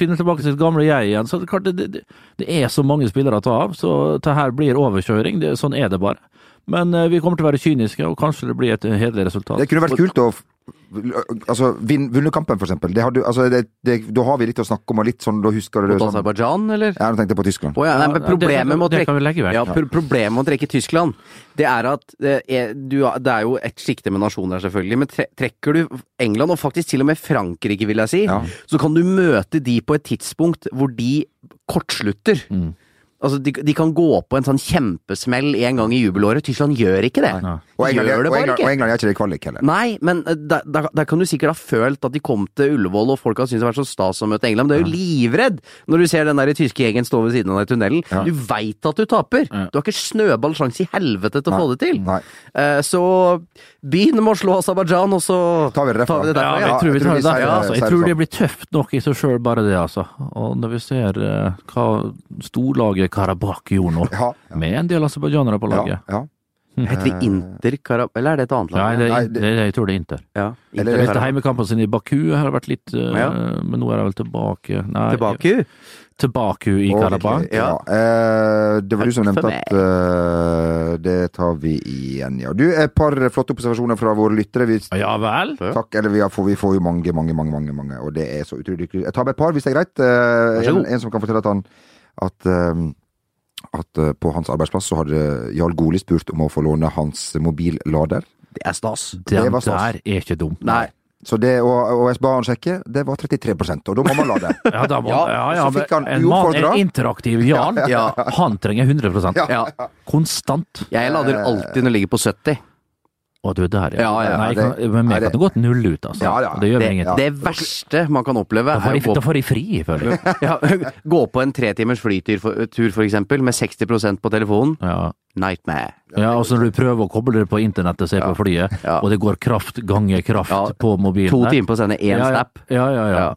[SPEAKER 2] finne tilbake sitt gamle jeg igjen. Så det, er klart, det, det, det er så mange spillere å ta av, så det her blir overkjøring. Det, sånn er det bare. Men eh, vi kommer til å være kyniske, og kanskje det blir et hederlig resultat.
[SPEAKER 1] Det kunne vært kult å f- altså, vin, vunne kampen, for eksempel. Det hadde, altså, det, det, da har vi litt å snakke om, og litt sånn, da husker du det
[SPEAKER 3] Mot
[SPEAKER 1] sånn.
[SPEAKER 3] Aserbajdsjan, eller?
[SPEAKER 1] Ja, nå tenkte jeg på Tyskland.
[SPEAKER 3] Å ja, nei, men
[SPEAKER 2] Ja, det-
[SPEAKER 3] problemet med å
[SPEAKER 2] det
[SPEAKER 3] trekke
[SPEAKER 2] kan vi legge vekk.
[SPEAKER 3] Ja, pro problemet med å trekke Tyskland, det er at det er, du, har- det er jo et sjikte med nasjoner, selvfølgelig, men tre, trekker du England, og faktisk til og med Frankrike, vil jeg si,
[SPEAKER 1] Ja.
[SPEAKER 3] så kan du møte de på et tidspunkt hvor de kortslutter. Altså, de, de kan gå på en sånn kjempesmell en gang i jubelåret. Tyskland gjør ikke det.
[SPEAKER 2] Nei.
[SPEAKER 1] Og England,
[SPEAKER 3] gjør det
[SPEAKER 1] og,
[SPEAKER 3] bare
[SPEAKER 1] England,
[SPEAKER 3] ikke.
[SPEAKER 1] og England er ikke det i kvalik heller.
[SPEAKER 3] Nei, men eh, der, der, der kan du sikkert ha følt at de kom til Ullevål og folk har syntes det har vært så stas å møte England, men du er jo livredd når du ser den der tyske gjengen stå ved siden av deg i tunnelen. Du veit at du taper! Du har ikke snøballsjanse i helvete til å få det til!
[SPEAKER 1] Nei.
[SPEAKER 3] Eh, så begynn med å slå Aserbajdsjan, og så
[SPEAKER 1] Tar vi det derfra.
[SPEAKER 2] Ja,
[SPEAKER 3] derfra,
[SPEAKER 2] men
[SPEAKER 3] ja.
[SPEAKER 2] jeg tror vi tar det
[SPEAKER 1] sier-
[SPEAKER 2] derfra. Altså.
[SPEAKER 1] sier
[SPEAKER 2] Jeg
[SPEAKER 1] det
[SPEAKER 2] tror
[SPEAKER 1] sånn.
[SPEAKER 2] det blir tøft nok i seg sjøl, bare det, altså. Og når vi ser eh, hva storlaget Karabakh gjorde nå,
[SPEAKER 1] Ja, ja.
[SPEAKER 2] med en del aserbajdsjanere på
[SPEAKER 1] Ja,
[SPEAKER 2] laget
[SPEAKER 1] ja.
[SPEAKER 3] Heter de Inter-Karab... Eller er det et annet
[SPEAKER 2] Eh. Nei,
[SPEAKER 3] lag?
[SPEAKER 2] det,
[SPEAKER 1] Nei,
[SPEAKER 2] det, det, jeg tror det er Inter.
[SPEAKER 3] ja.
[SPEAKER 1] Eller-
[SPEAKER 3] Inter
[SPEAKER 2] Etter heimekampen sin i Baku har det vært litt eh,
[SPEAKER 3] Ja.
[SPEAKER 2] Men nå er de vel tilbake Nei,
[SPEAKER 3] Tilbake?
[SPEAKER 2] til Baku i
[SPEAKER 1] Og-
[SPEAKER 2] Karabakh.
[SPEAKER 1] Ja.
[SPEAKER 3] Ja.
[SPEAKER 1] Eh, det var du som
[SPEAKER 3] Takk
[SPEAKER 1] nevnte
[SPEAKER 3] for
[SPEAKER 1] at eh, Det tar vi igjen, ja. Du, et par flotte observasjoner fra våre lyttere. Vi,
[SPEAKER 2] Ja vel?
[SPEAKER 1] takk, eller vi, har, får- vi får jo mange, mange, mange, mange, mange og det er så utrolig kult. Jeg tar med et par, hvis det er greit. Eh,
[SPEAKER 3] så
[SPEAKER 1] en,
[SPEAKER 3] god.
[SPEAKER 1] en som kan fortelle at han at, eh, at eh, på hans arbeidsplass så hadde Jarl Goli spurt om å få låne hans mobillader.
[SPEAKER 3] Det er stas.
[SPEAKER 1] Det
[SPEAKER 2] Den
[SPEAKER 1] var stas.
[SPEAKER 2] der er ikke dum.
[SPEAKER 3] Nei.
[SPEAKER 1] Så det, og, og jeg ba han sjekke, det var 33 og da må man la det.
[SPEAKER 2] Ja, da må,
[SPEAKER 3] Ja,
[SPEAKER 2] ja, ja,
[SPEAKER 1] så fikk
[SPEAKER 2] men
[SPEAKER 1] han
[SPEAKER 2] en mann
[SPEAKER 1] uoppfordra.
[SPEAKER 2] er interaktiv, Jan.
[SPEAKER 3] Ja.
[SPEAKER 2] Han trenger 100
[SPEAKER 3] Ja.
[SPEAKER 2] Konstant.
[SPEAKER 3] Jeg lader alltid når det ligger på 70.
[SPEAKER 2] Å, du er der,
[SPEAKER 3] Ja, ja,
[SPEAKER 2] Nei, jeg kan,
[SPEAKER 1] det-
[SPEAKER 2] men
[SPEAKER 1] nei,
[SPEAKER 2] jeg
[SPEAKER 1] det-
[SPEAKER 2] kan godt nulle ut, altså.
[SPEAKER 1] Ja, ja,
[SPEAKER 2] Det gjør meg
[SPEAKER 3] Det,
[SPEAKER 2] ingenting.
[SPEAKER 3] det verste man kan oppleve,
[SPEAKER 2] Da får
[SPEAKER 3] er
[SPEAKER 2] jeg-
[SPEAKER 3] å gå,
[SPEAKER 2] Da får jeg fri, føler jeg.
[SPEAKER 3] ja, gå på en tre timers flytur for, tur, for eksempel, med 60 på telefonen.
[SPEAKER 2] Ja.
[SPEAKER 3] Nightmare.
[SPEAKER 2] Ja, altså når du prøver å koble det på internettet, se på flyet,
[SPEAKER 3] Ja.
[SPEAKER 2] og det går kraft ganger kraft
[SPEAKER 3] Ja,
[SPEAKER 2] på mobilen
[SPEAKER 3] To
[SPEAKER 2] der.
[SPEAKER 3] timer på å sende
[SPEAKER 2] ja,
[SPEAKER 3] én
[SPEAKER 2] ja.
[SPEAKER 3] snap.
[SPEAKER 2] Ja, ja, ja.
[SPEAKER 3] Ja.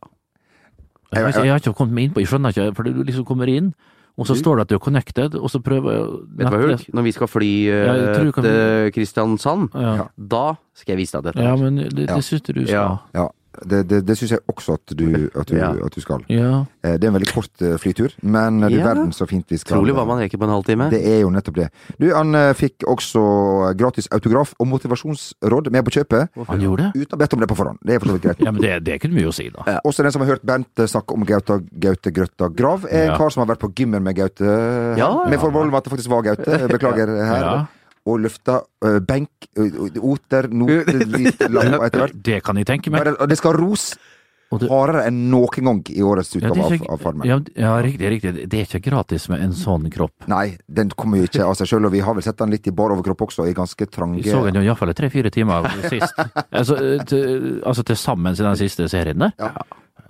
[SPEAKER 2] Jeg, har ikke- jeg har ikke kommet meg inn på Jeg skjønner ikke, for du liksom kommer inn, og så står det at du er connected, og så prøver jeg å-
[SPEAKER 3] Mm. Vet du hva, Hulk? Når vi skal fly eh,
[SPEAKER 2] Ja, jeg tror du kan-
[SPEAKER 3] til Kristiansand,
[SPEAKER 2] Ja.
[SPEAKER 3] da skal jeg vise deg dette.
[SPEAKER 2] ja, men det, det syns jeg du skal.
[SPEAKER 3] Ja.
[SPEAKER 1] Ja, det, det, det syns jeg også at du, at, du,
[SPEAKER 3] Ja.
[SPEAKER 1] at du skal.
[SPEAKER 2] Ja.
[SPEAKER 1] Eh, Det er en veldig kort eh, flytur, men eh, du
[SPEAKER 3] Ja.
[SPEAKER 1] verden så fint vi skal
[SPEAKER 3] Trolig hva man rekker på en halvtime.
[SPEAKER 1] Det er jo nettopp det. Du, han eh, fikk også gratis autograf og motivasjonsråd med på kjøpet,
[SPEAKER 2] Han gjorde det?
[SPEAKER 1] uten å ha bedt om det på forhånd. Det er for så vidt greit.
[SPEAKER 2] Ja, men det, det kunne vi jo si, da.
[SPEAKER 1] Også den som har hørt Bent eh, snakke om Gauta, Gaute Grøtta Grav, er en
[SPEAKER 2] Ja.
[SPEAKER 1] kar som har vært på gymmen med Gaute. her.
[SPEAKER 3] Ja, ja.
[SPEAKER 1] Med forbehold om at det faktisk var Gaute. Jeg Beklager her.
[SPEAKER 2] Ja.
[SPEAKER 1] Og løfta eh, benk, ø, ø, oter, noter, lys, lam og etter hvert.
[SPEAKER 2] Det kan jeg tenke
[SPEAKER 1] Men
[SPEAKER 2] meg.
[SPEAKER 1] det- Og det skal ros
[SPEAKER 2] Og det-
[SPEAKER 1] hardere enn noen gang i årets
[SPEAKER 2] Ja,
[SPEAKER 1] utgave
[SPEAKER 2] det er
[SPEAKER 1] av, av
[SPEAKER 2] ikke,
[SPEAKER 1] Farmen.
[SPEAKER 2] ja, ja, riktig, riktig. Det er ikke gratis med en sånn kropp.
[SPEAKER 1] Nei, den kommer jo ikke av seg sjøl, og vi har vel sett den litt i bar overkropp også, i ganske
[SPEAKER 2] Vi så
[SPEAKER 1] trange
[SPEAKER 2] den jo iallfall tre-fire timer sist. altså, eh, til, altså til sammen i den siste serien der.
[SPEAKER 1] Ja.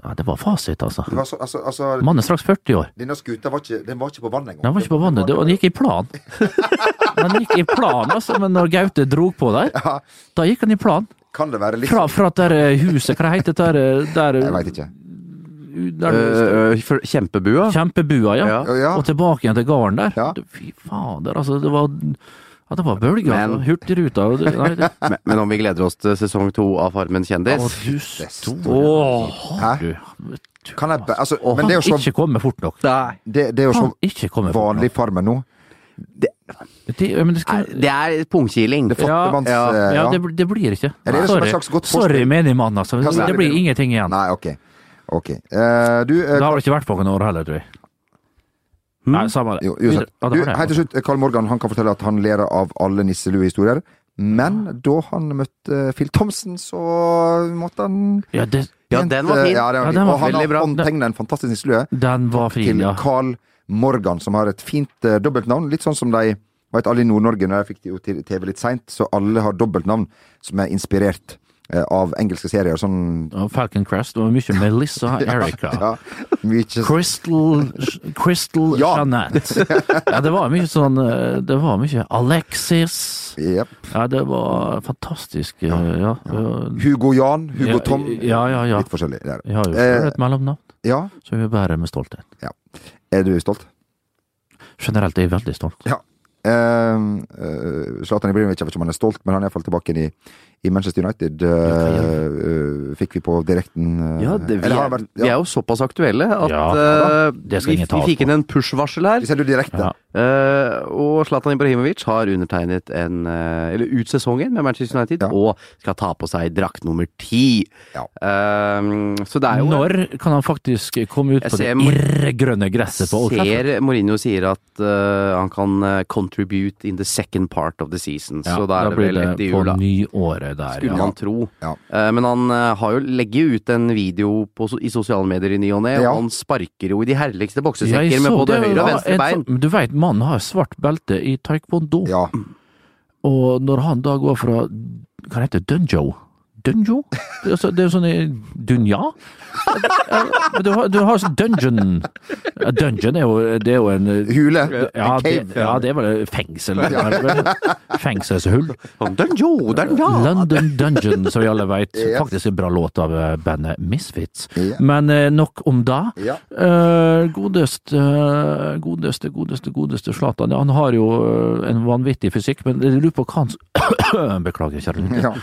[SPEAKER 2] Ja, det var fasit, altså.
[SPEAKER 1] Det var så, altså, altså,
[SPEAKER 2] Mannen er straks 40 år.
[SPEAKER 1] Denne skuta var ikke, den var ikke på vann engang.
[SPEAKER 2] Den var ikke på vannet, det- og den gikk i plan. Den gikk i plan, altså, men når Gaute drog på der, da gikk han i plan.
[SPEAKER 1] Kan det være litt
[SPEAKER 2] Fra, fra det der eh, huset, hva heter det der, eh, der,
[SPEAKER 1] Jeg
[SPEAKER 2] eh,
[SPEAKER 1] veit ikke.
[SPEAKER 2] der
[SPEAKER 3] Øh, øh, for- kjempebua.
[SPEAKER 2] Kjempebua, ja.
[SPEAKER 3] Ja.
[SPEAKER 1] Ja.
[SPEAKER 2] Og tilbake igjen til gården der.
[SPEAKER 1] Ja.
[SPEAKER 2] Fy fader, altså, det var ja, det var bølger, altså.
[SPEAKER 3] Men-
[SPEAKER 2] Hurtigruta og det- nei, det-
[SPEAKER 3] Men, men om vi gleder oss til sesong to av Farmen
[SPEAKER 2] Å,
[SPEAKER 3] kjendis?
[SPEAKER 2] du store
[SPEAKER 3] Åh.
[SPEAKER 1] Hæ?
[SPEAKER 2] du.
[SPEAKER 1] Kan jeg, ba- altså,
[SPEAKER 2] Og
[SPEAKER 1] men
[SPEAKER 2] han
[SPEAKER 1] det er jo så,
[SPEAKER 2] ikke kommer fort nok.
[SPEAKER 3] Nei.
[SPEAKER 1] det, det er jo
[SPEAKER 2] Han
[SPEAKER 1] så
[SPEAKER 2] ikke kommer fort
[SPEAKER 1] vanlig
[SPEAKER 2] nok.
[SPEAKER 1] i Farmen nå.
[SPEAKER 2] Det, men det skal,
[SPEAKER 3] Det er pungkiling.
[SPEAKER 1] Det er fattigmanns...
[SPEAKER 3] Ja,
[SPEAKER 1] eh,
[SPEAKER 2] ja, det, bl- det blir ikke.
[SPEAKER 1] Er det som et
[SPEAKER 2] Sorry,
[SPEAKER 1] slags godt
[SPEAKER 2] Sorry
[SPEAKER 1] forspill?
[SPEAKER 2] menigmann, altså.
[SPEAKER 1] Ja,
[SPEAKER 2] Det
[SPEAKER 1] sorry,
[SPEAKER 2] blir
[SPEAKER 1] menigmann.
[SPEAKER 2] ingenting igjen.
[SPEAKER 1] Nei, ok. Ok. Eh, du, eh,
[SPEAKER 2] Det har vel ikke vært på noen år heller, tror jeg. Nei, samme det.
[SPEAKER 1] jo, uansett.
[SPEAKER 2] Ja,
[SPEAKER 1] du,
[SPEAKER 2] det var det.
[SPEAKER 1] helt til slutt, Karl Morgan han kan fortelle at han ler av alle nisselue-historier. Men da han møtte Phil Thomsen, så måtte han
[SPEAKER 2] Ja, det,
[SPEAKER 3] Ja, den var fin.
[SPEAKER 1] eh, Ja, den
[SPEAKER 2] Ja,
[SPEAKER 1] var fin.
[SPEAKER 2] den var
[SPEAKER 1] Og han
[SPEAKER 2] veldig
[SPEAKER 1] har
[SPEAKER 2] bra.
[SPEAKER 1] håndtegna en fantastisk nisselue
[SPEAKER 2] den var fin,
[SPEAKER 1] til
[SPEAKER 2] ja.
[SPEAKER 1] Carl Morgan, som har et fint eh, dobbeltnavn. Litt sånn som de vet alle i Nord-Norge, når jeg fikk det jo til TV litt seint, så alle har dobbeltnavn som er inspirert eh, av engelske serier. Sånn
[SPEAKER 2] Og Falcon Crest og mye Melissa Erica.
[SPEAKER 1] ja, mye
[SPEAKER 2] Crystal Crystal
[SPEAKER 1] Ja.
[SPEAKER 2] Jeanette. Ja, det var mye sånn eh, Det var mye Alexis.
[SPEAKER 1] Jep.
[SPEAKER 2] Ja, det var fantastisk. eh, Ja.
[SPEAKER 1] Hugo Jan, Hugo
[SPEAKER 2] Ja,
[SPEAKER 1] Tom.
[SPEAKER 2] ja, ja, ja.
[SPEAKER 1] Litt forskjellig der.
[SPEAKER 2] Vi har jo
[SPEAKER 1] Eh,
[SPEAKER 2] selv et mellomnavn
[SPEAKER 1] Ja,
[SPEAKER 2] som vi bærer med stolthet.
[SPEAKER 1] er du stolt?
[SPEAKER 2] Generelt er jeg veldig stolt.
[SPEAKER 1] Ja. Ehm, eh, Zlatan Ibrahimovic, jeg vet ikke om han er stolt, men han er iallfall tilbake i, i Manchester United. eh, eh, fikk vi på direkten eh,
[SPEAKER 3] Ja, det, vi,
[SPEAKER 1] eller har
[SPEAKER 3] er,
[SPEAKER 1] han vært,
[SPEAKER 3] vi er
[SPEAKER 1] ja.
[SPEAKER 3] jo såpass aktuelle at
[SPEAKER 2] Ja,
[SPEAKER 3] eh,
[SPEAKER 2] Det skal
[SPEAKER 3] vi,
[SPEAKER 2] ingen ta
[SPEAKER 3] vi
[SPEAKER 2] oss
[SPEAKER 3] fikk
[SPEAKER 2] på.
[SPEAKER 3] inn en push-varsel her.
[SPEAKER 1] Vi sender jo direkte.
[SPEAKER 2] Ja.
[SPEAKER 3] Eh, og Zlatan Ibrahimovic har undertegnet en eh, Eller ut sesongen med Manchester United
[SPEAKER 1] Ja.
[SPEAKER 3] og skal ta på seg drakt nummer ti.
[SPEAKER 1] Ja.
[SPEAKER 3] Eh, så det er jo
[SPEAKER 2] Når kan han faktisk komme ut
[SPEAKER 3] Jeg
[SPEAKER 2] på det
[SPEAKER 3] ser Mor-
[SPEAKER 2] irrgrønne gresset på Old Trafford?
[SPEAKER 3] ser Mourinho sier at eh, han kan eh, contribute in the second part of the season.
[SPEAKER 2] Ja,
[SPEAKER 3] så da er det
[SPEAKER 2] blir
[SPEAKER 3] vel
[SPEAKER 2] det
[SPEAKER 3] rett i
[SPEAKER 2] på
[SPEAKER 3] jula.
[SPEAKER 2] nyåret der,
[SPEAKER 3] Skulle
[SPEAKER 2] ja.
[SPEAKER 3] man tro.
[SPEAKER 1] Ja.
[SPEAKER 3] Eh, Men han eh, har jo legger ut en video på, so- i sosiale medier i ny og ne,
[SPEAKER 1] Ja.
[SPEAKER 3] og han sparker jo i de herligste
[SPEAKER 2] Ja, jeg
[SPEAKER 3] boksesekker med
[SPEAKER 2] så
[SPEAKER 3] både
[SPEAKER 2] det,
[SPEAKER 3] høyre og
[SPEAKER 2] ja,
[SPEAKER 3] venstre
[SPEAKER 2] en
[SPEAKER 3] bein.
[SPEAKER 2] sånn- men Du veit, mannen har svart belte i taekwondo,
[SPEAKER 1] ja.
[SPEAKER 2] og når han da går fra Hva heter det? Dunjo? Dunjo? Det er altså- det er jo sånn i Dunja? Ja, men Du har, du har sånn dungeon Ja, Dungeon er jo, det er jo en eh,
[SPEAKER 1] Hule.
[SPEAKER 2] ja
[SPEAKER 1] En cave.
[SPEAKER 2] det, ja, det er vel fengsel. det er vel- Fengselshull.
[SPEAKER 3] Den jo, den ja!
[SPEAKER 2] London Dungeon, som vi alle vet.
[SPEAKER 1] Yes.
[SPEAKER 2] Faktisk en bra låt av eh, bandet Misfits.
[SPEAKER 1] Ja.
[SPEAKER 2] Men eh, nok om det.
[SPEAKER 1] Ja.
[SPEAKER 2] Eh, Godeste, eh, godeste, godeste godeste Zlatan. Ja, Han har jo eh, en vanvittig fysikk, men jeg lurer på hva han s- Beklager, kjære lytter.
[SPEAKER 1] Ja.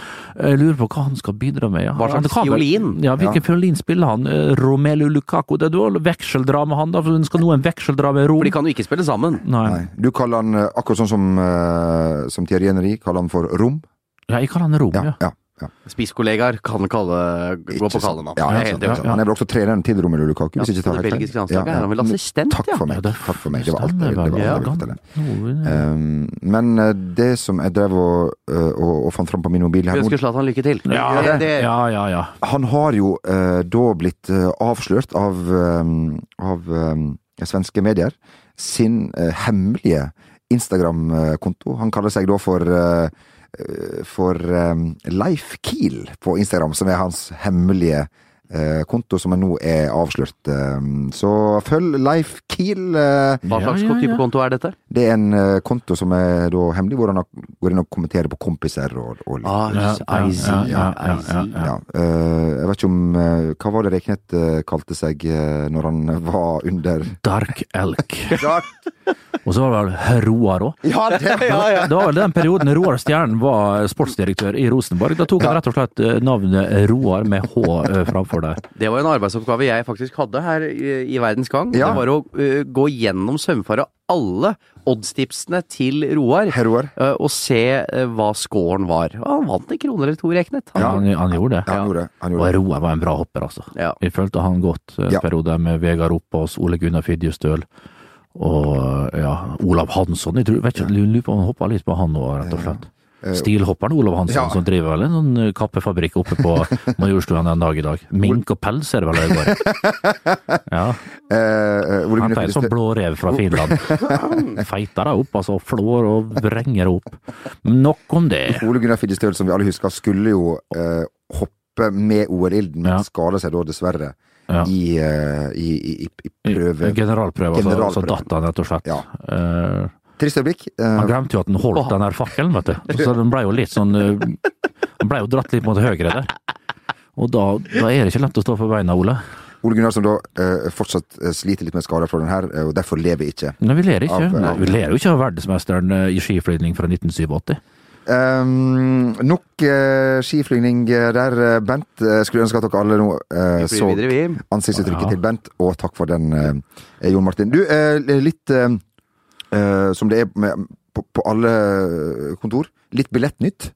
[SPEAKER 2] Jeg lurer på hva han skal bidra med. Ja.
[SPEAKER 3] Hva slags
[SPEAKER 2] Han kan vel-
[SPEAKER 3] fiolin?
[SPEAKER 2] Ja, hvilken fiolin spiller han? Eh, Romelu Lukaku? Det er vel vekseldra med han, da? For hun skal nå en vekseldra med Rom?
[SPEAKER 3] For de kan jo ikke spille sammen.
[SPEAKER 2] Nei.
[SPEAKER 1] Nei. Du kaller han, eh, akkurat sånn som, eh, som Thierry Henry, kaller han for Rom.
[SPEAKER 2] Ja, jeg kaller han Rom,
[SPEAKER 1] Ja,
[SPEAKER 2] ja.
[SPEAKER 1] ja.
[SPEAKER 3] Spisskollegaer kan kalle, gå
[SPEAKER 1] Ikke
[SPEAKER 3] på
[SPEAKER 1] sant.
[SPEAKER 3] kallenavn.
[SPEAKER 1] Ja, sånn,
[SPEAKER 3] Jeg er
[SPEAKER 1] ikke
[SPEAKER 3] helt
[SPEAKER 1] sant.
[SPEAKER 3] enig.
[SPEAKER 1] Han er vel også treneren til Romelu Lukaku, hvis
[SPEAKER 3] Ja,
[SPEAKER 1] ikke jeg tar
[SPEAKER 3] det
[SPEAKER 1] helt
[SPEAKER 3] belgiske
[SPEAKER 1] feil.
[SPEAKER 3] landslaget er han vel assistent,
[SPEAKER 1] Takk for
[SPEAKER 3] ja.
[SPEAKER 1] meg. Takk for meg. Det var alt jeg ville
[SPEAKER 2] Stemmer,
[SPEAKER 1] det var alt jeg ville
[SPEAKER 2] ja.
[SPEAKER 1] fortelle.
[SPEAKER 2] Nå, eh,
[SPEAKER 1] Um, men eh, det som jeg drev og, eh, og, og fant fram på min mobil her
[SPEAKER 3] Vi
[SPEAKER 1] nå
[SPEAKER 3] ønsker Zlatan lykke til.
[SPEAKER 2] Ja,
[SPEAKER 3] det, det,
[SPEAKER 1] Eh,
[SPEAKER 2] Ja, ja, ja.
[SPEAKER 1] Han har jo eh, da blitt eh, avslørt av, eh, av eh, svenske medier sin eh, hemmelige Instagram-konto. Han kaller seg da for eh, eh, for eh, Leif Kiel på Instagram, som er hans hemmelige eh, konto, som nå er avslørt. Eh, så følg Leif Kiel. eh,
[SPEAKER 3] Hva
[SPEAKER 2] Ja,
[SPEAKER 3] slags
[SPEAKER 2] ja,
[SPEAKER 3] type
[SPEAKER 2] ja.
[SPEAKER 3] konto er dette?
[SPEAKER 1] det er en eh, konto som er da hemmelig, hvor han har- går inn og kommenterer på kompiser og, og litt.
[SPEAKER 3] Ah,
[SPEAKER 2] Ja, ja,
[SPEAKER 3] I see,
[SPEAKER 2] ja, ja,
[SPEAKER 3] I see.
[SPEAKER 2] ja,
[SPEAKER 1] Ja, eh, jeg vet ikke om eh, Hva var det Reknet eh, kalte seg eh, når han var under
[SPEAKER 2] Dark Elk. Og så var det vel Roar òg.
[SPEAKER 1] Ja, det var
[SPEAKER 2] Det var vel den perioden Roar Stjernen var sportsdirektør i Rosenborg. Da tok han rett og slett eh, navnet Roar med H eh, framfor der.
[SPEAKER 3] Det var en arbeidsoppgave jeg faktisk hadde her i i Verdens Gang.
[SPEAKER 1] Ja.
[SPEAKER 3] Det var å ø, gå gjennom sømfare alle oddstipsene til Roar.
[SPEAKER 1] Heroer.
[SPEAKER 3] ø, og se ø, hva scoren var. Og han vant en krone eller to, Reknet. Han-
[SPEAKER 2] Han, han gjorde det.
[SPEAKER 1] Ja, han gjorde det. Han
[SPEAKER 2] Og
[SPEAKER 1] gjorde det.
[SPEAKER 2] Roar var en bra hopper, altså.
[SPEAKER 3] Ja.
[SPEAKER 2] Vi fulgte han godt en
[SPEAKER 1] Ja.
[SPEAKER 2] periode med Vegard Oppås, Ole Gunnar Fidjestøl og ja, Olav Hansson. Jeg tror, vet ikke, lurer på om han hoppa litt på han nå, rett og slett. Stilhopperen Olav Hansson,
[SPEAKER 1] Eh, Ja.
[SPEAKER 2] som driver vel en sånn eh, kappefabrikk oppe på Majorstuen en dag i dag. Mink og pels er det vel det går i. Ja,
[SPEAKER 1] Eh, eh, Ole Gunnar
[SPEAKER 2] han tar en sånn
[SPEAKER 1] Fidestøl
[SPEAKER 2] blå rev fra Finland. Feiter deg opp, altså. Flår og vrenger opp. Nok om det.
[SPEAKER 1] Ole Gunnar Fidestøl, som vi alle husker, skulle jo eh, hoppe med OL-ilden, men
[SPEAKER 2] Ja.
[SPEAKER 1] skader seg da dessverre
[SPEAKER 2] Ja.
[SPEAKER 1] i, eh, i, i, i, i prøve.
[SPEAKER 2] Generalprøve, altså. Så
[SPEAKER 1] Generalprøve.
[SPEAKER 2] datt han, rett og slett.
[SPEAKER 1] Ja.
[SPEAKER 2] Eh,
[SPEAKER 1] Trist øyeblikk. eh,
[SPEAKER 2] Han glemte jo at han holdt den der fakkelen, vet du. Så den ble jo litt sånn eh, Han ble jo dratt litt mot høyre der. Og da, da er det ikke lett å stå på beina, Ole.
[SPEAKER 1] Ole Gunnar som da eh, fortsatt eh, sliter litt med skader fra den her, eh, og derfor lever ikke.
[SPEAKER 2] Men vi ler ikke.
[SPEAKER 1] Av- av-
[SPEAKER 2] Vi ler jo ikke av verdensmesteren eh, i skiflygning fra 1987.
[SPEAKER 1] Um, nok eh, skiflygning eh, der, eh, Bent. Jeg skulle ønske at dere alle nå eh,
[SPEAKER 3] Vi flyr
[SPEAKER 1] så
[SPEAKER 3] videre, vi.
[SPEAKER 1] ansiktsuttrykket
[SPEAKER 2] Ja.
[SPEAKER 1] til Bent, og takk for den, eh, Jon Martin. Du, eh, litt eh, eh, som det er med, på, på alle eh, kontor, litt billettnytt.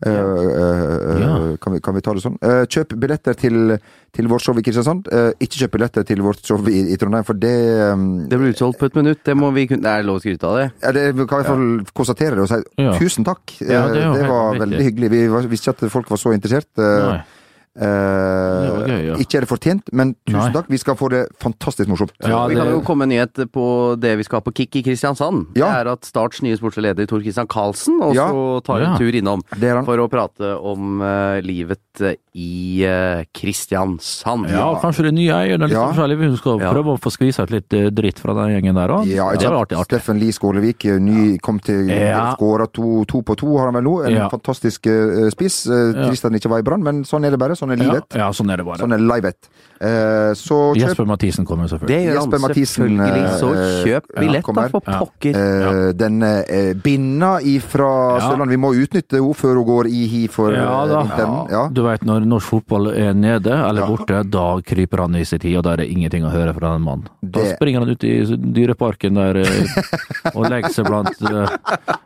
[SPEAKER 1] Eh, eh, eh,
[SPEAKER 2] Ja.
[SPEAKER 1] kan, vi, kan vi ta det sånn? Eh, kjøp billetter til, til vårt show i Kristiansand. Eh, ikke kjøp billetter til vårt show i, i Trondheim, for det eh,
[SPEAKER 3] Det ble utsolgt på et minutt. Det, må vi kunne, det er lov å skryte av det.
[SPEAKER 1] ja, det vi kan i hvert fall konstatere det og si
[SPEAKER 2] Ja.
[SPEAKER 1] tusen takk.
[SPEAKER 2] Ja, det er
[SPEAKER 1] Eh,
[SPEAKER 2] jo
[SPEAKER 1] det
[SPEAKER 2] helt
[SPEAKER 1] var
[SPEAKER 2] vanvittig.
[SPEAKER 1] veldig hyggelig. Vi var- visste ikke at folk var så interessert. Eh,
[SPEAKER 2] Nei.
[SPEAKER 1] eh,
[SPEAKER 2] Det var gøy, ja.
[SPEAKER 1] Ikke er det fortjent, men tusen
[SPEAKER 2] Nei.
[SPEAKER 1] takk. Vi skal få det fantastisk morsomt. Eh,
[SPEAKER 2] Ja,
[SPEAKER 3] Vi
[SPEAKER 2] det-
[SPEAKER 3] kan jo komme en nyhet på det vi skal ha på Kick i Kristiansand.
[SPEAKER 1] Ja.
[SPEAKER 3] Det er at Starts nye sportslige leder Tor Christian Karlsen også
[SPEAKER 1] Ja.
[SPEAKER 3] tar
[SPEAKER 2] Ja.
[SPEAKER 3] en tur innom
[SPEAKER 1] Det er han.
[SPEAKER 3] for å prate om eh, livet eh, i eh, Kristiansand.
[SPEAKER 2] Ja, kanskje de nye eierne er litt
[SPEAKER 1] Ja.
[SPEAKER 2] forskjellige. Vi skal
[SPEAKER 3] Ja.
[SPEAKER 2] prøve å få skvisa ut litt eh, dritt fra den gjengen der òg.
[SPEAKER 1] Ja, ikke
[SPEAKER 2] det var
[SPEAKER 1] sant?
[SPEAKER 2] artig. artig.
[SPEAKER 1] Steffen Lie Skålevik, eh, ny, kom til
[SPEAKER 2] Ja.
[SPEAKER 1] skåra to, to på to, har han vel nå. En
[SPEAKER 2] Ja.
[SPEAKER 1] fantastisk eh, spiss. Eh,
[SPEAKER 2] Ja.
[SPEAKER 1] Trist at han ikke var i Brann, men sånn er det bare. Sånn er
[SPEAKER 2] Ja,
[SPEAKER 1] livet.
[SPEAKER 2] ja, sånn er det bare.
[SPEAKER 1] Sånn er livet. Eh, så kjøp
[SPEAKER 2] Jesper Mathisen kommer jo
[SPEAKER 3] Det
[SPEAKER 2] selvfølgelig.
[SPEAKER 3] gjør
[SPEAKER 1] Jesper
[SPEAKER 3] han
[SPEAKER 1] Mathisen,
[SPEAKER 3] selvfølgelig, så
[SPEAKER 1] eh,
[SPEAKER 3] kjøp
[SPEAKER 1] ja,
[SPEAKER 3] billett da,
[SPEAKER 1] kommer.
[SPEAKER 3] for
[SPEAKER 2] Ja.
[SPEAKER 3] pokker.
[SPEAKER 1] Eh, Den eh, binda ifra
[SPEAKER 2] Ja.
[SPEAKER 1] Sørlandet. Vi må utnytte henne før hun går i hi for
[SPEAKER 2] Ja,
[SPEAKER 1] eh,
[SPEAKER 2] da.
[SPEAKER 1] vinteren. Ja.
[SPEAKER 2] Du veit når norsk fotball er nede eller
[SPEAKER 1] Ja.
[SPEAKER 2] borte, da kryper han i sin tid, og da er det ingenting å høre fra den mannen. Da
[SPEAKER 1] Det-
[SPEAKER 2] springer han ut i dyreparken der eh, og legger seg blant eh,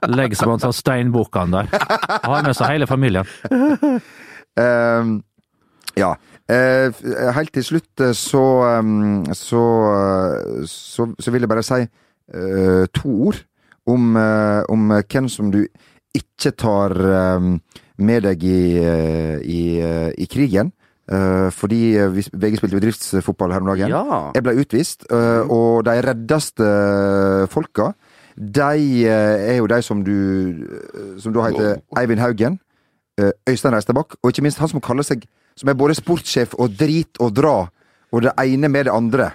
[SPEAKER 2] Legger seg blant sånn steinbukkene der. Han Har med seg hele familien.
[SPEAKER 1] Ehm, ja. Eh, f- eh, helt til slutt eh, så, ehm, så, eh, så Så vil jeg bare si eh, to ord om, eh, om eh, hvem som du ikke tar ehm, med deg i, eh, i, eh, i krigen. Eh, fordi eh, vi, VG spilte bedriftsfotball her om dagen.
[SPEAKER 3] Ja.
[SPEAKER 1] Jeg ble utvist,
[SPEAKER 2] Mhm.
[SPEAKER 1] eh, og de reddeste folka, de eh, er jo de som du eh, Som da heter Eivind Haugen, eh, Øystein Reistebakk, og ikke minst han som kaller seg Som er både sportssjef og drit og dra, og det ene med det andre.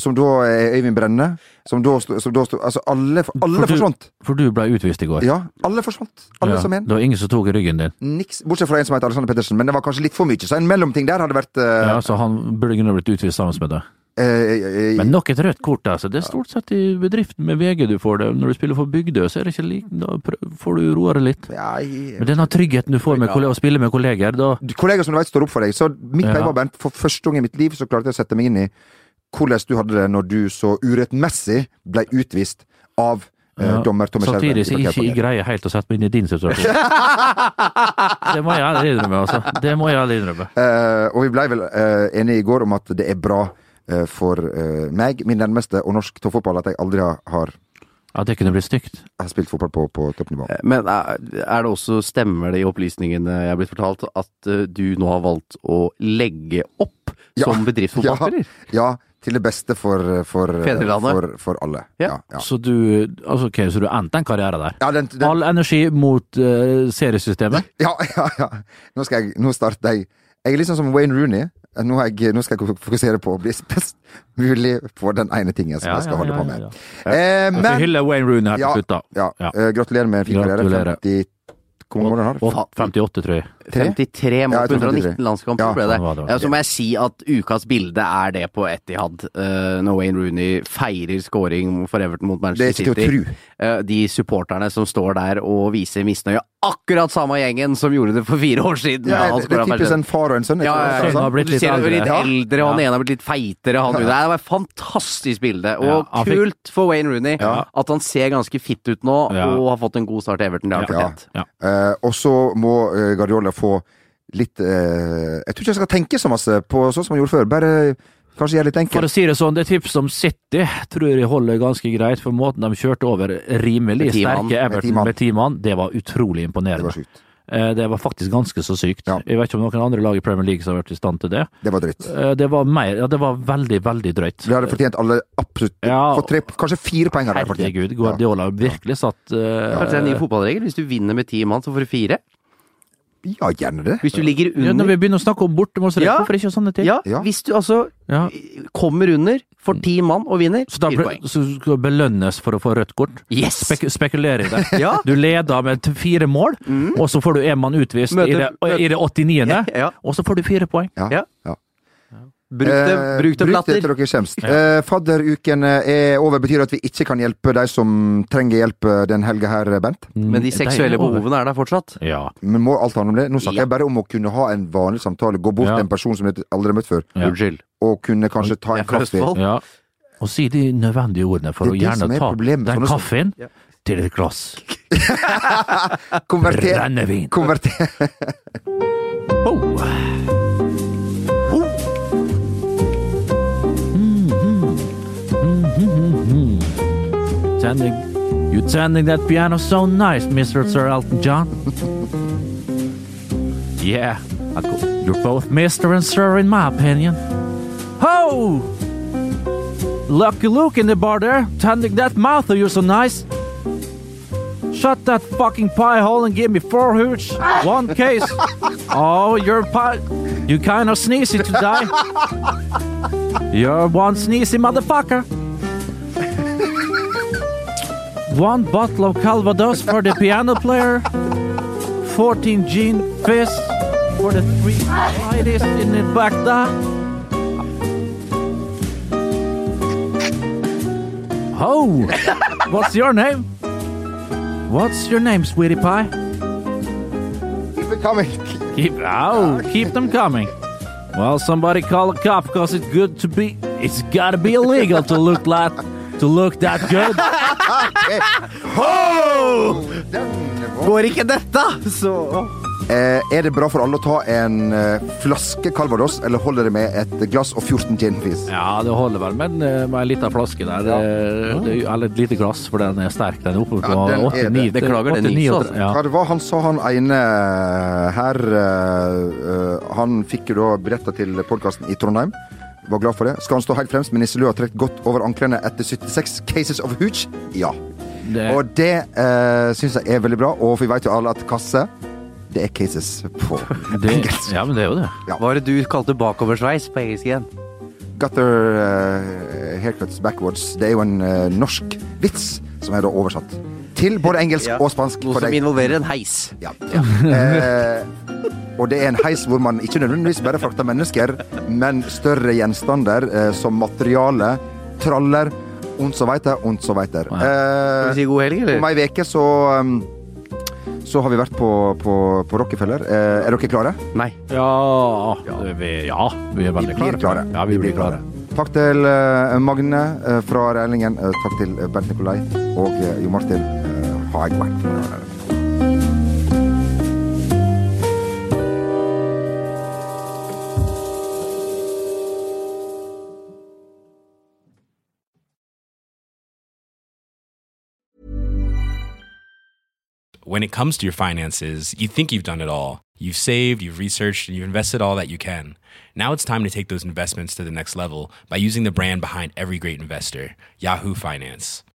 [SPEAKER 1] Som da er Øyvind Brenne. Som da, sto- som da sto- Altså, alle, alle
[SPEAKER 2] For du-
[SPEAKER 1] forsvant!
[SPEAKER 2] For du ble utvist i går.
[SPEAKER 1] Ja, alle forsvant. Alle som en.
[SPEAKER 2] Det var ingen som tok ryggen din.
[SPEAKER 1] Niks, bortsett fra en som heter Alexander Pettersen, men det var kanskje litt for mye. Så en mellomting der hadde vært eh,
[SPEAKER 2] Ja, så han burde kunne blitt utvist sammen med deg.
[SPEAKER 1] eh, eh,
[SPEAKER 2] Men nok et rødt kort, altså. Det er stort sett i bedriften med VG du får det. Når du spiller for Bygdøy, så er det ikke lik Da prøv- får du roa deg litt.
[SPEAKER 1] ja, i-
[SPEAKER 2] Men denne tryggheten du får med kolle- å spille med kolleger, da
[SPEAKER 1] Du- kollegaer som du vet står opp for deg. Så mitt
[SPEAKER 2] Ja.
[SPEAKER 1] poeng var Bernt, for første gang i mitt liv så klarte jeg å sette meg inn i hvordan du hadde det når du så urettmessig ble utvist av eh, dommer Tommy Skjerven.
[SPEAKER 2] Samtidig så
[SPEAKER 1] i
[SPEAKER 2] ikke jeg
[SPEAKER 1] parkert
[SPEAKER 2] greier helt å sette meg inn i din situasjon. Det må jeg ærlig innrømme, altså. Det må jeg ærlig innrømme.
[SPEAKER 1] Eh, og vi blei vel eh, enige i går om at det er bra eh, for eh, meg, min nærmeste og norsk toppfotball at jeg aldri har, har,
[SPEAKER 2] Ja, det kunne blitt stygt.
[SPEAKER 1] har spilt fotball på, på
[SPEAKER 2] Eh,
[SPEAKER 1] toppnivå.
[SPEAKER 3] Men eh, er er det også, stemmer det i opplysningene jeg er blitt fortalt, at eh, du nå har valgt å legge opp
[SPEAKER 1] Ja.
[SPEAKER 3] som bedriftsfotballspiller?
[SPEAKER 1] Ja, til det beste for, eh, for,
[SPEAKER 3] Fedrelandet.
[SPEAKER 1] for, for alle.
[SPEAKER 3] Ja.
[SPEAKER 1] Ja, ja.
[SPEAKER 2] Så du altså, ok, så du endte en karriere der.
[SPEAKER 1] Ja, den, den,
[SPEAKER 2] All energi mot eh, seriesystemet.
[SPEAKER 1] Ja, ja, ja. Nå, skal jeg, nå starter jeg. Jeg er litt sånn som Wayne Rooney. Nå, er jeg, nå skal jeg fokusere på å bli best mulig på den ene tingen som
[SPEAKER 2] Ja,
[SPEAKER 1] jeg skal
[SPEAKER 2] ja,
[SPEAKER 1] holde
[SPEAKER 2] ja,
[SPEAKER 1] på
[SPEAKER 2] ja,
[SPEAKER 1] med.
[SPEAKER 2] ja.
[SPEAKER 1] Eh,
[SPEAKER 2] Vi
[SPEAKER 1] men
[SPEAKER 2] hyller Wayne Rooney her
[SPEAKER 1] Ja,
[SPEAKER 2] til slutt, da.
[SPEAKER 1] ja,
[SPEAKER 2] Ja.
[SPEAKER 1] eh, Gratulerer med en fin karriere.
[SPEAKER 2] Gratulerer.
[SPEAKER 1] 50 Hvor mange år har du?
[SPEAKER 2] Og 58, tror jeg.
[SPEAKER 3] 53
[SPEAKER 1] Ja, jeg
[SPEAKER 3] mot
[SPEAKER 1] tror 53.
[SPEAKER 3] 119 landskamper
[SPEAKER 1] Ja,
[SPEAKER 3] ble det.
[SPEAKER 2] sånn var det, var
[SPEAKER 3] Ja,
[SPEAKER 2] det.
[SPEAKER 3] så må jeg si at ukas bilde er det på Etihad, eh, når Wayne Rooney feirer scoring for Everton mot
[SPEAKER 1] Det er
[SPEAKER 3] Manchester
[SPEAKER 1] ikke til å
[SPEAKER 3] City.
[SPEAKER 1] tru.
[SPEAKER 3] Eh, de supporterne som står der og viser misnøye. Akkurat samme gjengen som gjorde det for fire år siden.
[SPEAKER 1] Ja,
[SPEAKER 2] altså,
[SPEAKER 3] da han
[SPEAKER 1] det, det
[SPEAKER 3] scoret
[SPEAKER 1] er typisk sånn-
[SPEAKER 3] Manchester-
[SPEAKER 1] en far og en sønn. ikke
[SPEAKER 3] Ja,
[SPEAKER 1] sant? Sånn.
[SPEAKER 3] ja,
[SPEAKER 2] Sønnen
[SPEAKER 3] ja.
[SPEAKER 2] har blitt
[SPEAKER 3] Du
[SPEAKER 2] litt
[SPEAKER 3] ser han er litt
[SPEAKER 2] eldre.
[SPEAKER 3] eldre, og han ene har blitt litt feitere. Han, Det var et fantastisk bilde. Og
[SPEAKER 2] Ja, han fikk-
[SPEAKER 3] kult for Wayne Rooney
[SPEAKER 2] Ja.
[SPEAKER 3] at han ser ganske fitt ut nå,
[SPEAKER 2] Ja.
[SPEAKER 3] og har fått en god start i Everton. Det har han
[SPEAKER 1] Ja.
[SPEAKER 3] fortjent.
[SPEAKER 2] Ja.
[SPEAKER 1] Eh, og så må eh, Guardiola få litt eh, Jeg tror ikke jeg skal tenke så masse på sånn som han gjorde før. Bare kanskje gjøre det litt
[SPEAKER 2] For å
[SPEAKER 1] enkelt.
[SPEAKER 2] si det sånn, det tipset om City tror jeg holder ganske greit, for måten de kjørte over rimelig
[SPEAKER 3] Med ti mann.
[SPEAKER 2] sterke
[SPEAKER 1] Med ti
[SPEAKER 2] Everton
[SPEAKER 1] mann.
[SPEAKER 2] med ti mann, det var utrolig
[SPEAKER 1] Det
[SPEAKER 2] imponerende.
[SPEAKER 1] var sjukt.
[SPEAKER 2] Eh, Det var faktisk ganske så sykt.
[SPEAKER 1] Ja.
[SPEAKER 2] Jeg vet ikke om noen andre lag i Premier League som har vært i stand til det.
[SPEAKER 1] Det var dritt.
[SPEAKER 2] Eh, Det var mer, ja, det var veldig, veldig drøyt.
[SPEAKER 1] Vi hadde fortjent alle absolutt
[SPEAKER 2] Ja.
[SPEAKER 1] fått tre, Kanskje fire poeng hadde jeg fortjent.
[SPEAKER 2] Herregud, Guardiola virkelig satt eh,
[SPEAKER 3] Kanskje det er en ny fotballregel. Hvis du vinner med ti mann, så får du fire.
[SPEAKER 1] Ja, gjerne det.
[SPEAKER 3] Hvis du ligger
[SPEAKER 2] ja, Når
[SPEAKER 3] under
[SPEAKER 2] vi begynner å snakke om bortemålsrekk,
[SPEAKER 3] Ja.
[SPEAKER 2] hvorfor ikke sånn sånne ting?
[SPEAKER 3] Ja,
[SPEAKER 1] Ja.
[SPEAKER 3] hvis du altså
[SPEAKER 2] Ja.
[SPEAKER 3] kommer under, får ti mann og vinner,
[SPEAKER 2] Så da
[SPEAKER 3] fire
[SPEAKER 2] ble,
[SPEAKER 3] poeng.
[SPEAKER 2] så skal du belønnes for å få rødt kort?
[SPEAKER 3] Yes!
[SPEAKER 2] Spek spekulerer i det.
[SPEAKER 3] Ja.
[SPEAKER 2] Du leder med t- fire mål, og så får du én mann utvist
[SPEAKER 3] Møter-
[SPEAKER 2] i det,
[SPEAKER 3] møter-
[SPEAKER 2] i det 89.
[SPEAKER 3] Ja.
[SPEAKER 2] og så får du fire poeng.
[SPEAKER 1] Ja.
[SPEAKER 3] Ja.
[SPEAKER 1] ja.
[SPEAKER 3] Bruk det,
[SPEAKER 1] Eh,
[SPEAKER 3] bruk det
[SPEAKER 1] bruk
[SPEAKER 3] platter.
[SPEAKER 1] det til dere kommer. Eh, fadderuken er over. Betyr det at vi ikke kan hjelpe de som trenger hjelp eh, den helga her, Bent?
[SPEAKER 3] Men de seksuelle behovene er der fortsatt.
[SPEAKER 2] Ja.
[SPEAKER 1] Men må alt handle om det? Nå snakker
[SPEAKER 3] Ja.
[SPEAKER 1] jeg bare om å kunne ha en vanlig samtale, gå bort
[SPEAKER 2] Ja.
[SPEAKER 1] til en person som jeg aldri har møtt før,
[SPEAKER 2] Ja.
[SPEAKER 3] Unnskyld.
[SPEAKER 1] og kunne kanskje ta
[SPEAKER 3] Jeg
[SPEAKER 1] en
[SPEAKER 3] er fra
[SPEAKER 1] kaffe.
[SPEAKER 3] Østfold.
[SPEAKER 2] ja. Og si de nødvendige ordene for
[SPEAKER 1] Det er
[SPEAKER 2] å
[SPEAKER 1] det som
[SPEAKER 2] gjerne
[SPEAKER 1] er
[SPEAKER 2] ta
[SPEAKER 1] problemet,
[SPEAKER 2] den
[SPEAKER 1] sånne som-
[SPEAKER 2] kaffen til et glass
[SPEAKER 1] Konverter!
[SPEAKER 2] brennevin.
[SPEAKER 1] Konverter.
[SPEAKER 2] Oh. Mm-hmm. Tending, Mm-hmm. you tending that piano so nice, Mr. Sir Elton John. yeah, I go- you're both Mr. and Sir in my opinion. Ho! Lucky Luke in the bar there, tending that mouth of yours so nice. Shut that fucking pie hole and give me four hooch, one case. oh, you're pie. You kind of sneezy today. you're one sneezy motherfucker. One bottle of Calvados for the piano player. 14 gin fizz for the three ladies in the back there. Oh, what's your name? What's your name, sweetie pie? Keep oh, keep them coming. Well, somebody call a cop because it's good to be. It's gotta be illegal to look that to look that good.
[SPEAKER 3] Går ikke dette, så
[SPEAKER 1] Eh, er det bra for alle å ta en eh, flaske Calvados, eller holder det med et glass og 14 gin fizz?
[SPEAKER 2] Ja, det holder vel med en, eh, med en liten flaske der. Det- det- Eller et lite glass, for den er sterk. Den er oppe på
[SPEAKER 1] Ja, den er
[SPEAKER 2] 89.
[SPEAKER 1] det.
[SPEAKER 3] Beklager, den er
[SPEAKER 2] 89,
[SPEAKER 3] is, altså.
[SPEAKER 2] Ja.
[SPEAKER 1] Hva det var han sa, han ene her eh, eh, Han fikk jo da billetter til podkasten i Trondheim. Var glad for det. Skal han stå helt fremst med nisselua trukket godt over anklene etter 76 cases of hooch? Ja.
[SPEAKER 2] Det-
[SPEAKER 1] Og det uh, syns jeg er veldig bra, og vi vet jo alle at kasse, det er cases på
[SPEAKER 2] Det, ja, men det er jo det.
[SPEAKER 3] Hva er det du kalte bakoversveis på engelsk igjen?
[SPEAKER 1] Gutter eh, haircuts backwards. Det er jo en eh, norsk vits som er da oversatt til både engelsk og spansk.
[SPEAKER 3] Noe
[SPEAKER 1] for
[SPEAKER 3] som
[SPEAKER 1] deg.
[SPEAKER 3] involverer en heis.
[SPEAKER 1] Ja. Eh, og det er en heis hvor man ikke nødvendigvis bare frakter mennesker, men større gjenstander eh, som materiale, traller, und so weiter, und so weiter.
[SPEAKER 3] Skal vi
[SPEAKER 1] Eh,
[SPEAKER 3] si god helg,
[SPEAKER 1] om
[SPEAKER 3] eller?
[SPEAKER 1] ei uke så um, så har vi vært på, på, på Rockefeller. Eh, er dere klare?
[SPEAKER 3] Nei.
[SPEAKER 2] Ja, det- vi, ja, vi er veldig
[SPEAKER 1] blir klare.
[SPEAKER 2] Ja, vi blir klare.
[SPEAKER 1] Takk til eh, Magne eh, fra Rælingen. Eh, takk til eh, Bernt Nikolai og eh, Jo Martin eh, Haigvern.
[SPEAKER 4] When it comes to your finances, you think you've done it all. You've saved, you've researched, and you've invested all that you can. Now it's time to take those investments to the next level by using the brand behind every great investor, Yahoo Finance.